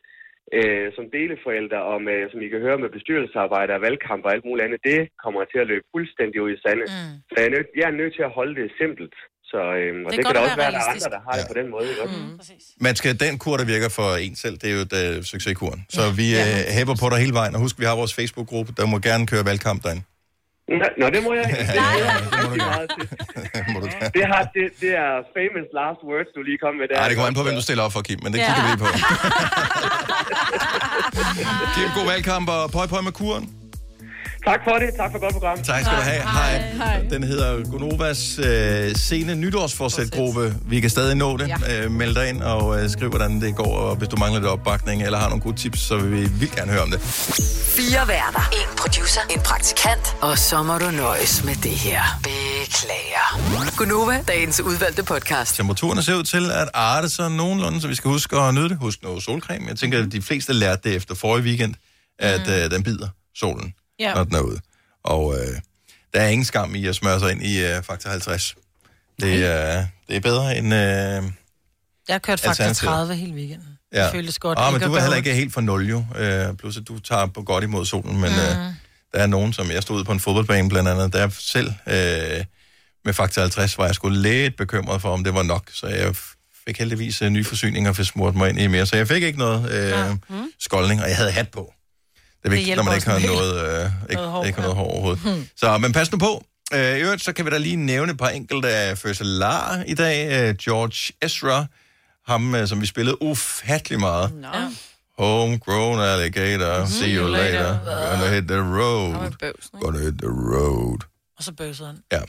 Speaker 7: øh, som deleforældre, og med, som I kan høre med bestyrelsesarbejde og valgkamp og alt muligt andet, det kommer til at løbe fuldstændig ud i sande. Mm. Så jeg er, nødt, jeg er nødt til at holde det simpelt. Så, øhm,
Speaker 3: Det
Speaker 7: og det,
Speaker 3: er
Speaker 7: det
Speaker 3: godt
Speaker 7: kan da
Speaker 3: at være
Speaker 7: også være, at der er
Speaker 3: realistisk.
Speaker 7: andre, der har det på den måde. Ikke? Mm.
Speaker 1: Man skal den kur, der virker for en selv, det er jo et øh, succeskuren. Så vi øh, hæpper på dig hele vejen, og husk, vi har vores Facebook-gruppe, der må gerne køre valgkamp derinde.
Speaker 7: Nå, nå, det må jeg ikke. Det, det, det, har, det, det er famous last words, du lige kom med der.
Speaker 1: Nej, det kommer an på, hvem du stiller op for, Kim, men det kigger vi lige på. Kim, god valgkamp, og pøj pøj med kuren.
Speaker 7: Tak for det. Tak for godt program.
Speaker 1: Tak skal du have. Hej. Den hedder Gonovas øh, sene nytårsforsætgruppe. Vi kan stadig nå det. Ja. Øh, meld dig ind og øh, skriv, hvordan det går. Og hvis du mangler lidt opbakning eller har nogle gode tips, så vil vi vildt gerne høre om det.
Speaker 5: Fire værter. En producer. En praktikant. Og så må du nøjes med det her. Beklager. Gunova, dagens udvalgte podcast.
Speaker 1: Temperaturen ser ud til at arte sig nogenlunde, så vi skal huske at nyde det. Husk noget solcreme. Jeg tænker, at de fleste lærte det efter forrige weekend, at mm. øh, den bider solen,
Speaker 3: Ja.
Speaker 1: når den er ude. Og øh, der er ingen skam i at smøre sig ind i øh, faktor 50. Det, er, det er bedre end... Øh,
Speaker 3: Jeg har kørt faktor
Speaker 1: Alternativet.
Speaker 3: 30 hele weekenden.
Speaker 1: Ja.
Speaker 3: Det føltes godt.
Speaker 1: Ah, men
Speaker 3: Ikke at
Speaker 1: du var heller
Speaker 3: være
Speaker 1: ikke helt for nul jo. Øh, plus at du tager på godt imod solen, men mm. øh, der er nogen, som jeg stod ude på en fodboldbane blandt andet, der selv øh, med faktor 50 var jeg sgu lidt bekymret for, om det var nok. Så jeg f- fik heldigvis øh, nye forsyninger, for smurt mig ind i mere. Så jeg fik ikke noget øh, mm. skoldning, og jeg havde hat på. Det er
Speaker 8: Mm-hmm. Det
Speaker 1: vigtigt, når
Speaker 8: hjælper
Speaker 1: man ikke har
Speaker 8: også en
Speaker 1: noget, øh,
Speaker 8: Noget
Speaker 1: ikke,
Speaker 8: hår,
Speaker 1: noget, hår, ikke har noget hår overhovedet.
Speaker 8: Hmm.
Speaker 1: Så, men pas nu på. Øh, I øvrigt, så kan vi da lige nævne et par enkelte af fødselarer i dag. Øh, George Ezra, ham øh, som vi spillede ufattelig meget. No. Homegrown alligator,
Speaker 8: Mhm.
Speaker 1: mm, see you later. later. Gonna hit the road. Gonna hit the road.
Speaker 3: Og så bøvsede han.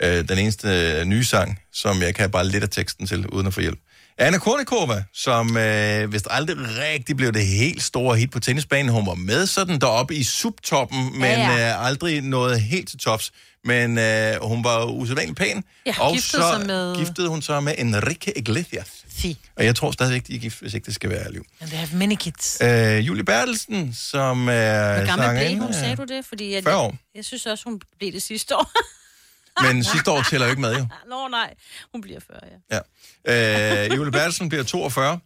Speaker 1: Ja. Øh, den eneste øh, nye sang, som jeg kan bare lidt af teksten til, uden at få hjælp. Anna Kornikova, som øh, vist aldrig rigtig blev det helt store hit på tennisbanen. Hun var med sådan deroppe i subtoppen, men ja,
Speaker 3: ja.
Speaker 1: ja. Øh, aldrig nåede helt til tops. Men øh, hun var usædvanligt pæn,
Speaker 3: Ja,
Speaker 1: og
Speaker 3: giftede
Speaker 1: så
Speaker 3: sig med-
Speaker 1: giftede hun sig med Enrique Iglesias.
Speaker 3: Fy.
Speaker 1: Og jeg tror stadigvæk, de er gift, hvis ikke det skal være liv.
Speaker 3: And they have many kids.
Speaker 1: Øh, Julie Bertelsen, som øh, er
Speaker 2: Hvor gammel blev
Speaker 1: sangerinde.
Speaker 2: hun, sagde du det? Fordi jeg,
Speaker 1: 40 år.
Speaker 2: jeg synes også, hun blev det sidste år.
Speaker 1: Men sidste år tæller jo ikke med, jo.
Speaker 2: Nå nej, hun bliver 40, ja.
Speaker 1: Ja. Øh, Jule Bertelsen bliver 42.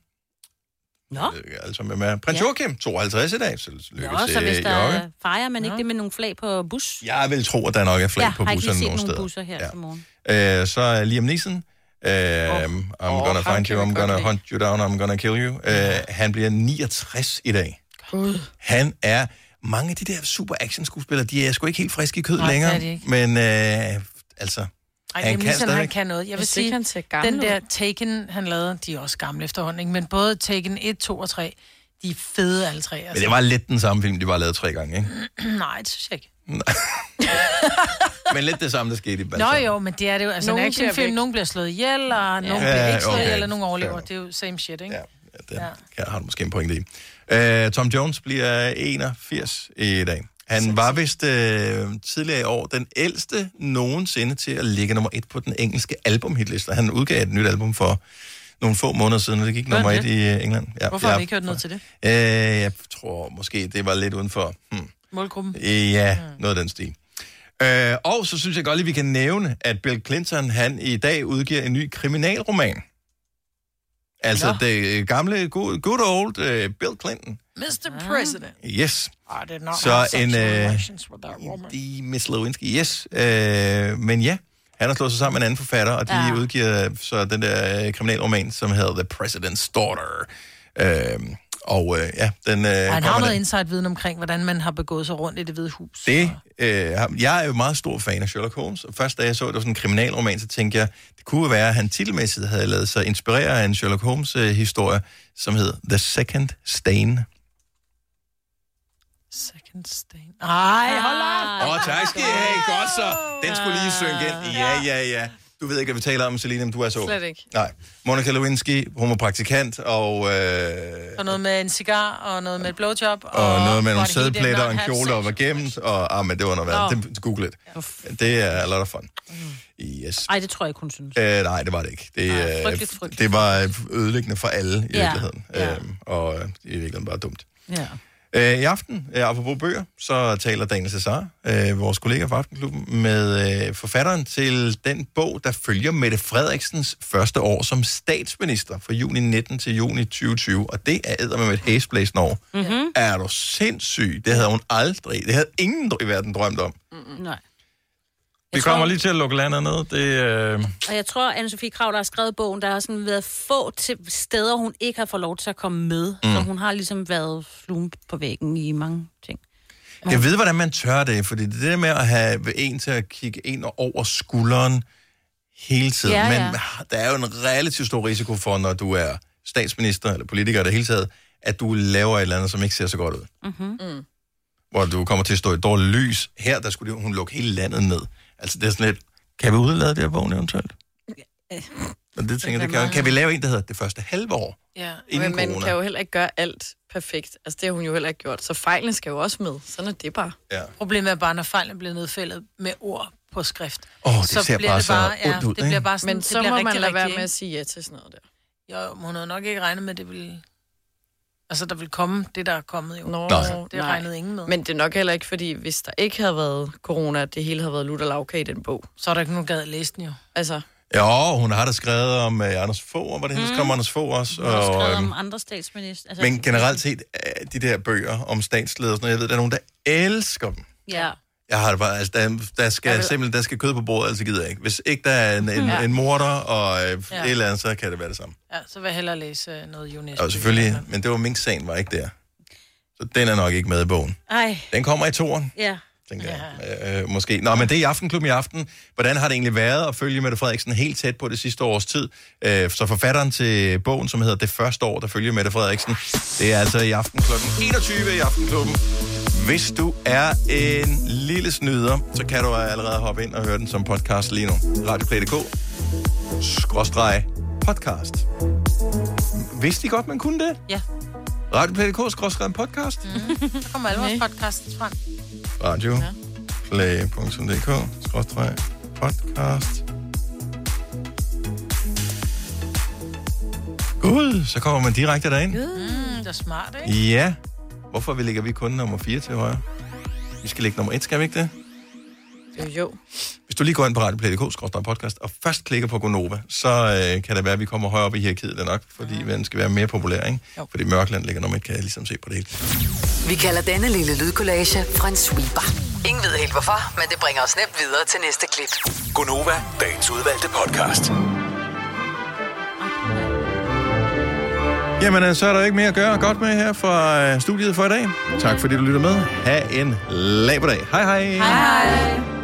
Speaker 2: Nå.
Speaker 1: Altså med, med prins
Speaker 2: Ja.
Speaker 1: Joachim, 52 i dag, så lykke
Speaker 2: Nå, så
Speaker 1: til
Speaker 2: hvis der
Speaker 1: Jokke.
Speaker 2: er, fejrer man ikke det med nogle flag på bus?
Speaker 1: Jeg vil tro, at der nok er flag
Speaker 2: jeg
Speaker 1: på
Speaker 2: har ikke
Speaker 1: busserne
Speaker 2: lige set
Speaker 1: nogle
Speaker 2: nogle
Speaker 1: steder.
Speaker 2: busser her ja. til morgen.
Speaker 1: Øh, så er Liam Neeson. Uh, I'm
Speaker 2: Åh,
Speaker 1: gonna
Speaker 2: ham
Speaker 1: find
Speaker 2: kan
Speaker 1: you,
Speaker 2: vi
Speaker 1: I'm
Speaker 2: godt
Speaker 1: gonna
Speaker 2: lide.
Speaker 1: hunt you down, I'm gonna kill you. Uh, han bliver 69 i dag.
Speaker 3: God.
Speaker 1: Han er... Mange af de der super action-skuespillere, de er sgu ikke helt friske i kød
Speaker 3: Nej, det er
Speaker 1: længere.
Speaker 3: de ikke.
Speaker 1: Men øh, altså,
Speaker 3: Ej,
Speaker 1: han kan stadig.
Speaker 3: han kan noget. Jeg vil
Speaker 4: Hvis ikke
Speaker 3: sige,
Speaker 4: han ser gammel
Speaker 3: den der
Speaker 4: ud.
Speaker 3: Taken, han lavede, de er også gamle efterhånden, ikke? men både Taken 1, 2 og 3, de er fede alle tre. altså.
Speaker 1: Men det var lidt den samme film, de var lavet tre gange, ikke?
Speaker 3: Nej, det synes jeg ikke.
Speaker 1: Men lidt det samme, der skete i
Speaker 3: Nå jo, men det er det jo. Altså, nogen en
Speaker 4: Nogen bliver
Speaker 3: actionfilm,
Speaker 4: væk.
Speaker 3: nogen bliver slået ihjel, og nogen
Speaker 1: Ja,
Speaker 3: bliver ikke slået
Speaker 1: okay.
Speaker 3: ihjel, eller nogen overlever.
Speaker 1: Fair.
Speaker 3: Det er jo same shit, ikke?
Speaker 1: Ja, ja. har du måske en pointe i. Uh, Tom Jones bliver 81 i dag. Han var vist øh, tidligere i år den ældste nogensinde til at ligge nummer et på den engelske albumhitliste. Han udgav et nyt album for nogle få måneder siden, og det gik
Speaker 3: Gør
Speaker 1: nummer
Speaker 3: han
Speaker 1: et
Speaker 3: det?
Speaker 1: i øh, England. Ja,
Speaker 3: Hvorfor
Speaker 1: ja,
Speaker 3: har vi ikke hørt noget til det?
Speaker 1: Øh, jeg tror måske, det var lidt uden for... Hmm.
Speaker 3: Målgruppen.
Speaker 1: Øh, Ja, noget af den stil. Øh, og så synes jeg godt lige, vi kan nævne, at Bill Clinton, han i dag udgiver en ny kriminalroman. Altså
Speaker 3: Nå.
Speaker 1: Nå. det gamle, good, good old uh, Bill Clinton.
Speaker 3: Mr. President.
Speaker 1: Yes.
Speaker 4: Ah.
Speaker 3: I did not
Speaker 1: Så
Speaker 3: have
Speaker 1: en,
Speaker 3: sexual
Speaker 1: øh,
Speaker 3: relations with that woman.
Speaker 1: De Miss Lewinsky, yes. Øh, men ja, han har slået sig sammen med en anden forfatter, og de
Speaker 3: Ja.
Speaker 1: ja. udgiver så den der øh, kriminalroman, som hedder The President's Daughter. Øh, og øh, ja, den... Øh,
Speaker 3: Og han
Speaker 1: kommer
Speaker 3: har
Speaker 1: den-
Speaker 3: noget insight viden omkring, hvordan man har begået sig rundt i det hvide hus.
Speaker 1: Det, øh, ham- jeg er jo meget stor fan af Sherlock Holmes, og først da jeg så, at det var sådan en kriminalroman, så tænkte jeg, det kunne jo være, at han titelmæssigt havde lavet sig inspirere af en Sherlock Holmes-historie, som hedder The Second Stain.
Speaker 3: Second stain. Ej, hold op!
Speaker 1: Åh, oh, tak skal I have. Godt så. Den skulle lige synge ind. Ja, ja, ja. Du ved ikke, hvad vi taler om, Selina, men du er så... ung.
Speaker 3: Slet ikke.
Speaker 1: Nej. Monica Lewinsky, hun var praktikant, og... Øh,
Speaker 3: Og noget med en cigar, og noget med et blowjob. Og,
Speaker 1: og noget med nogle
Speaker 3: what he did
Speaker 1: sædpletter
Speaker 3: not
Speaker 1: og en
Speaker 3: have
Speaker 1: kjole,
Speaker 3: sex.
Speaker 1: og var gemt, og... Ah, men det var noget værd.
Speaker 2: Nå.
Speaker 1: Det, google det. Det er a lot of fun. Yes.
Speaker 2: Nej, det tror jeg ikke, hun synes.
Speaker 1: Øh, nej, det var det ikke. Det, øh,
Speaker 2: frygteligt, frygteligt.
Speaker 1: det var øh, ødelæggende for alle i
Speaker 2: Ja,
Speaker 1: virkeligheden. Øh, og øh, i virkeligheden bare dumt.
Speaker 2: Ja.
Speaker 1: Øh, I aften, øh, apropos bøger, så taler Daniel Cesar, øh, vores kollega fra Aftenklubben, med øh, forfatteren til den bog, der følger Mette Frederiksens første år som statsminister fra juni 19 til juni 2020. Og det er med et hæsblæsende år.
Speaker 2: Mm-hmm.
Speaker 1: Er du sindssyg? Det havde hun aldrig. Det havde ingen i verden drømt om.
Speaker 2: Nej.
Speaker 1: Vi kommer lige til at lukke landet ned. Det, øh...
Speaker 2: Og jeg tror, anne Sofie Krav, der har skrevet bogen, der har sådan været få til steder, hun ikke har fået lov til at komme med. Mm. Så
Speaker 1: Mm.
Speaker 2: hun har ligesom været flum på væggen i mange ting.
Speaker 1: Jeg ved, hvordan man tør det, fordi det der med at have en til at kigge en over skulderen hele tiden,
Speaker 2: Ja,
Speaker 1: ja,
Speaker 2: ja.
Speaker 1: ja. men der er jo en relativt stor risiko for, når du er statsminister eller politiker i det hele taget, at du laver et eller andet, som ikke ser så godt ud.
Speaker 2: Mm-hmm. Mm.
Speaker 1: hvor du kommer til at stå i et dårligt lys. Her, der skulle de- hun lukke hele landet ned. Altså, det er sådan lidt, kan vi udlade det her vogn eventuelt? Men det tænker jeg, det kan, kan vi lave en, der hedder det første halve år?
Speaker 4: Ja,
Speaker 1: Inden
Speaker 4: men man
Speaker 1: corona.
Speaker 4: kan jo heller ikke gøre alt perfekt. Altså, det har hun jo heller ikke gjort. Så fejlen skal jo også med. Sådan er det bare.
Speaker 1: Ja.
Speaker 3: Problemet er bare, når fejlen bliver nedfældet med ord på skrift.
Speaker 1: Åh, det ser bare så ondt ud,
Speaker 3: det bliver
Speaker 1: ikke?
Speaker 3: bare sådan,
Speaker 4: Men
Speaker 3: det
Speaker 4: så
Speaker 3: bliver
Speaker 4: må
Speaker 3: rigtig,
Speaker 4: man lade
Speaker 3: rigtig,
Speaker 4: være
Speaker 3: ikke?
Speaker 4: med at sige ja til sådan noget der.
Speaker 3: Jo, hun havde nok ikke regnet med, at det ville... Altså, der ville komme det, der er kommet jo.
Speaker 4: Nå,
Speaker 3: altså, det regnede ingen med.
Speaker 4: Men det er nok heller ikke, fordi hvis der ikke havde været corona, at det hele havde været lutter lavkage i den bog.
Speaker 3: Så er der ikke nogen gad at læse den jo.
Speaker 4: Altså,
Speaker 1: Jo, hun har da skrevet om uh, Anders Fogh, var det hende, mm. skrev om Anders Fogh også?
Speaker 2: Hun har også skrevet
Speaker 1: øhm,
Speaker 2: om andre statsminister. Altså,
Speaker 1: Men generelt set, øh, de der bøger om statsledere, og sådan noget, jeg ved, der er nogen, der elsker dem.
Speaker 2: Ja.
Speaker 1: Jeg har det bare, altså, der, der skal
Speaker 2: Jeg
Speaker 1: jeg
Speaker 2: vil-
Speaker 1: simpelthen, der skal kød på bordet, altså gider jeg ikke. Hvis ikke der er en, en,
Speaker 3: Ja.
Speaker 1: ja. en morder og øh,
Speaker 3: Ja.
Speaker 1: ja. et eller andet, så kan det være det samme.
Speaker 3: Ja, så vil jeg hellere læse øh, noget UNESCO.
Speaker 1: Og selvfølgelig, men det altså. var Mink-sagen, var ikke der. Så den er nok ikke med i bogen.
Speaker 2: Ej,
Speaker 1: Den kommer i toren,
Speaker 2: ja.
Speaker 1: tænker jeg. Øh, måske. Nå, men det er i Aftenklubben i aften. Hvordan har det egentlig været at følge Mette Frederiksen helt tæt på det sidste års tid? Øh, så forfatteren til bogen, som hedder Det første år, der følger Mette Frederiksen, det er altså i Aftenklubben 21 i Aftenklubben. Hvis du er en lille snyder, så kan du allerede hoppe ind og høre den som podcast lige nu. RadioPlay.dk skråstreg podcast. Vidste I godt, man kunne det?
Speaker 3: Ja.
Speaker 1: RadioPlay.dk skråstreg podcast.
Speaker 3: Mm. Så kommer alle vores podcasts frem.
Speaker 1: Radio. Play.dk skråstreg podcast. Gud, så kommer man direkte derind.
Speaker 3: Mm, det er smart, ikke?
Speaker 1: Ja. Hvorfor vi ligger vi kun nummer 4 til højre? Vi skal ligge nummer 1, skal vi ikke det?
Speaker 4: jo, jo.
Speaker 1: Hvis du lige går ind på radioplay.dk podcast og først klikker på Gonova, så øh, kan det være, at vi kommer højere op i hierarkiet det er nok, fordi ja. den skal være mere populær, ikke? Fordi Mørkland ligger nummer 1, kan jeg ligesom se på det hele.
Speaker 5: Vi kalder denne lille lydkollage Frans sweeper. Ingen ved helt hvorfor, men det bringer os nemt videre til næste klip.
Speaker 10: Gunova, dagens udvalgte podcast.
Speaker 1: Jamen, øh, så er der ikke mere at gøre godt med her fra øh, studiet for i dag. Tak fordi du lytter med. Ha' en laberdag. Hej hej.
Speaker 3: Hej.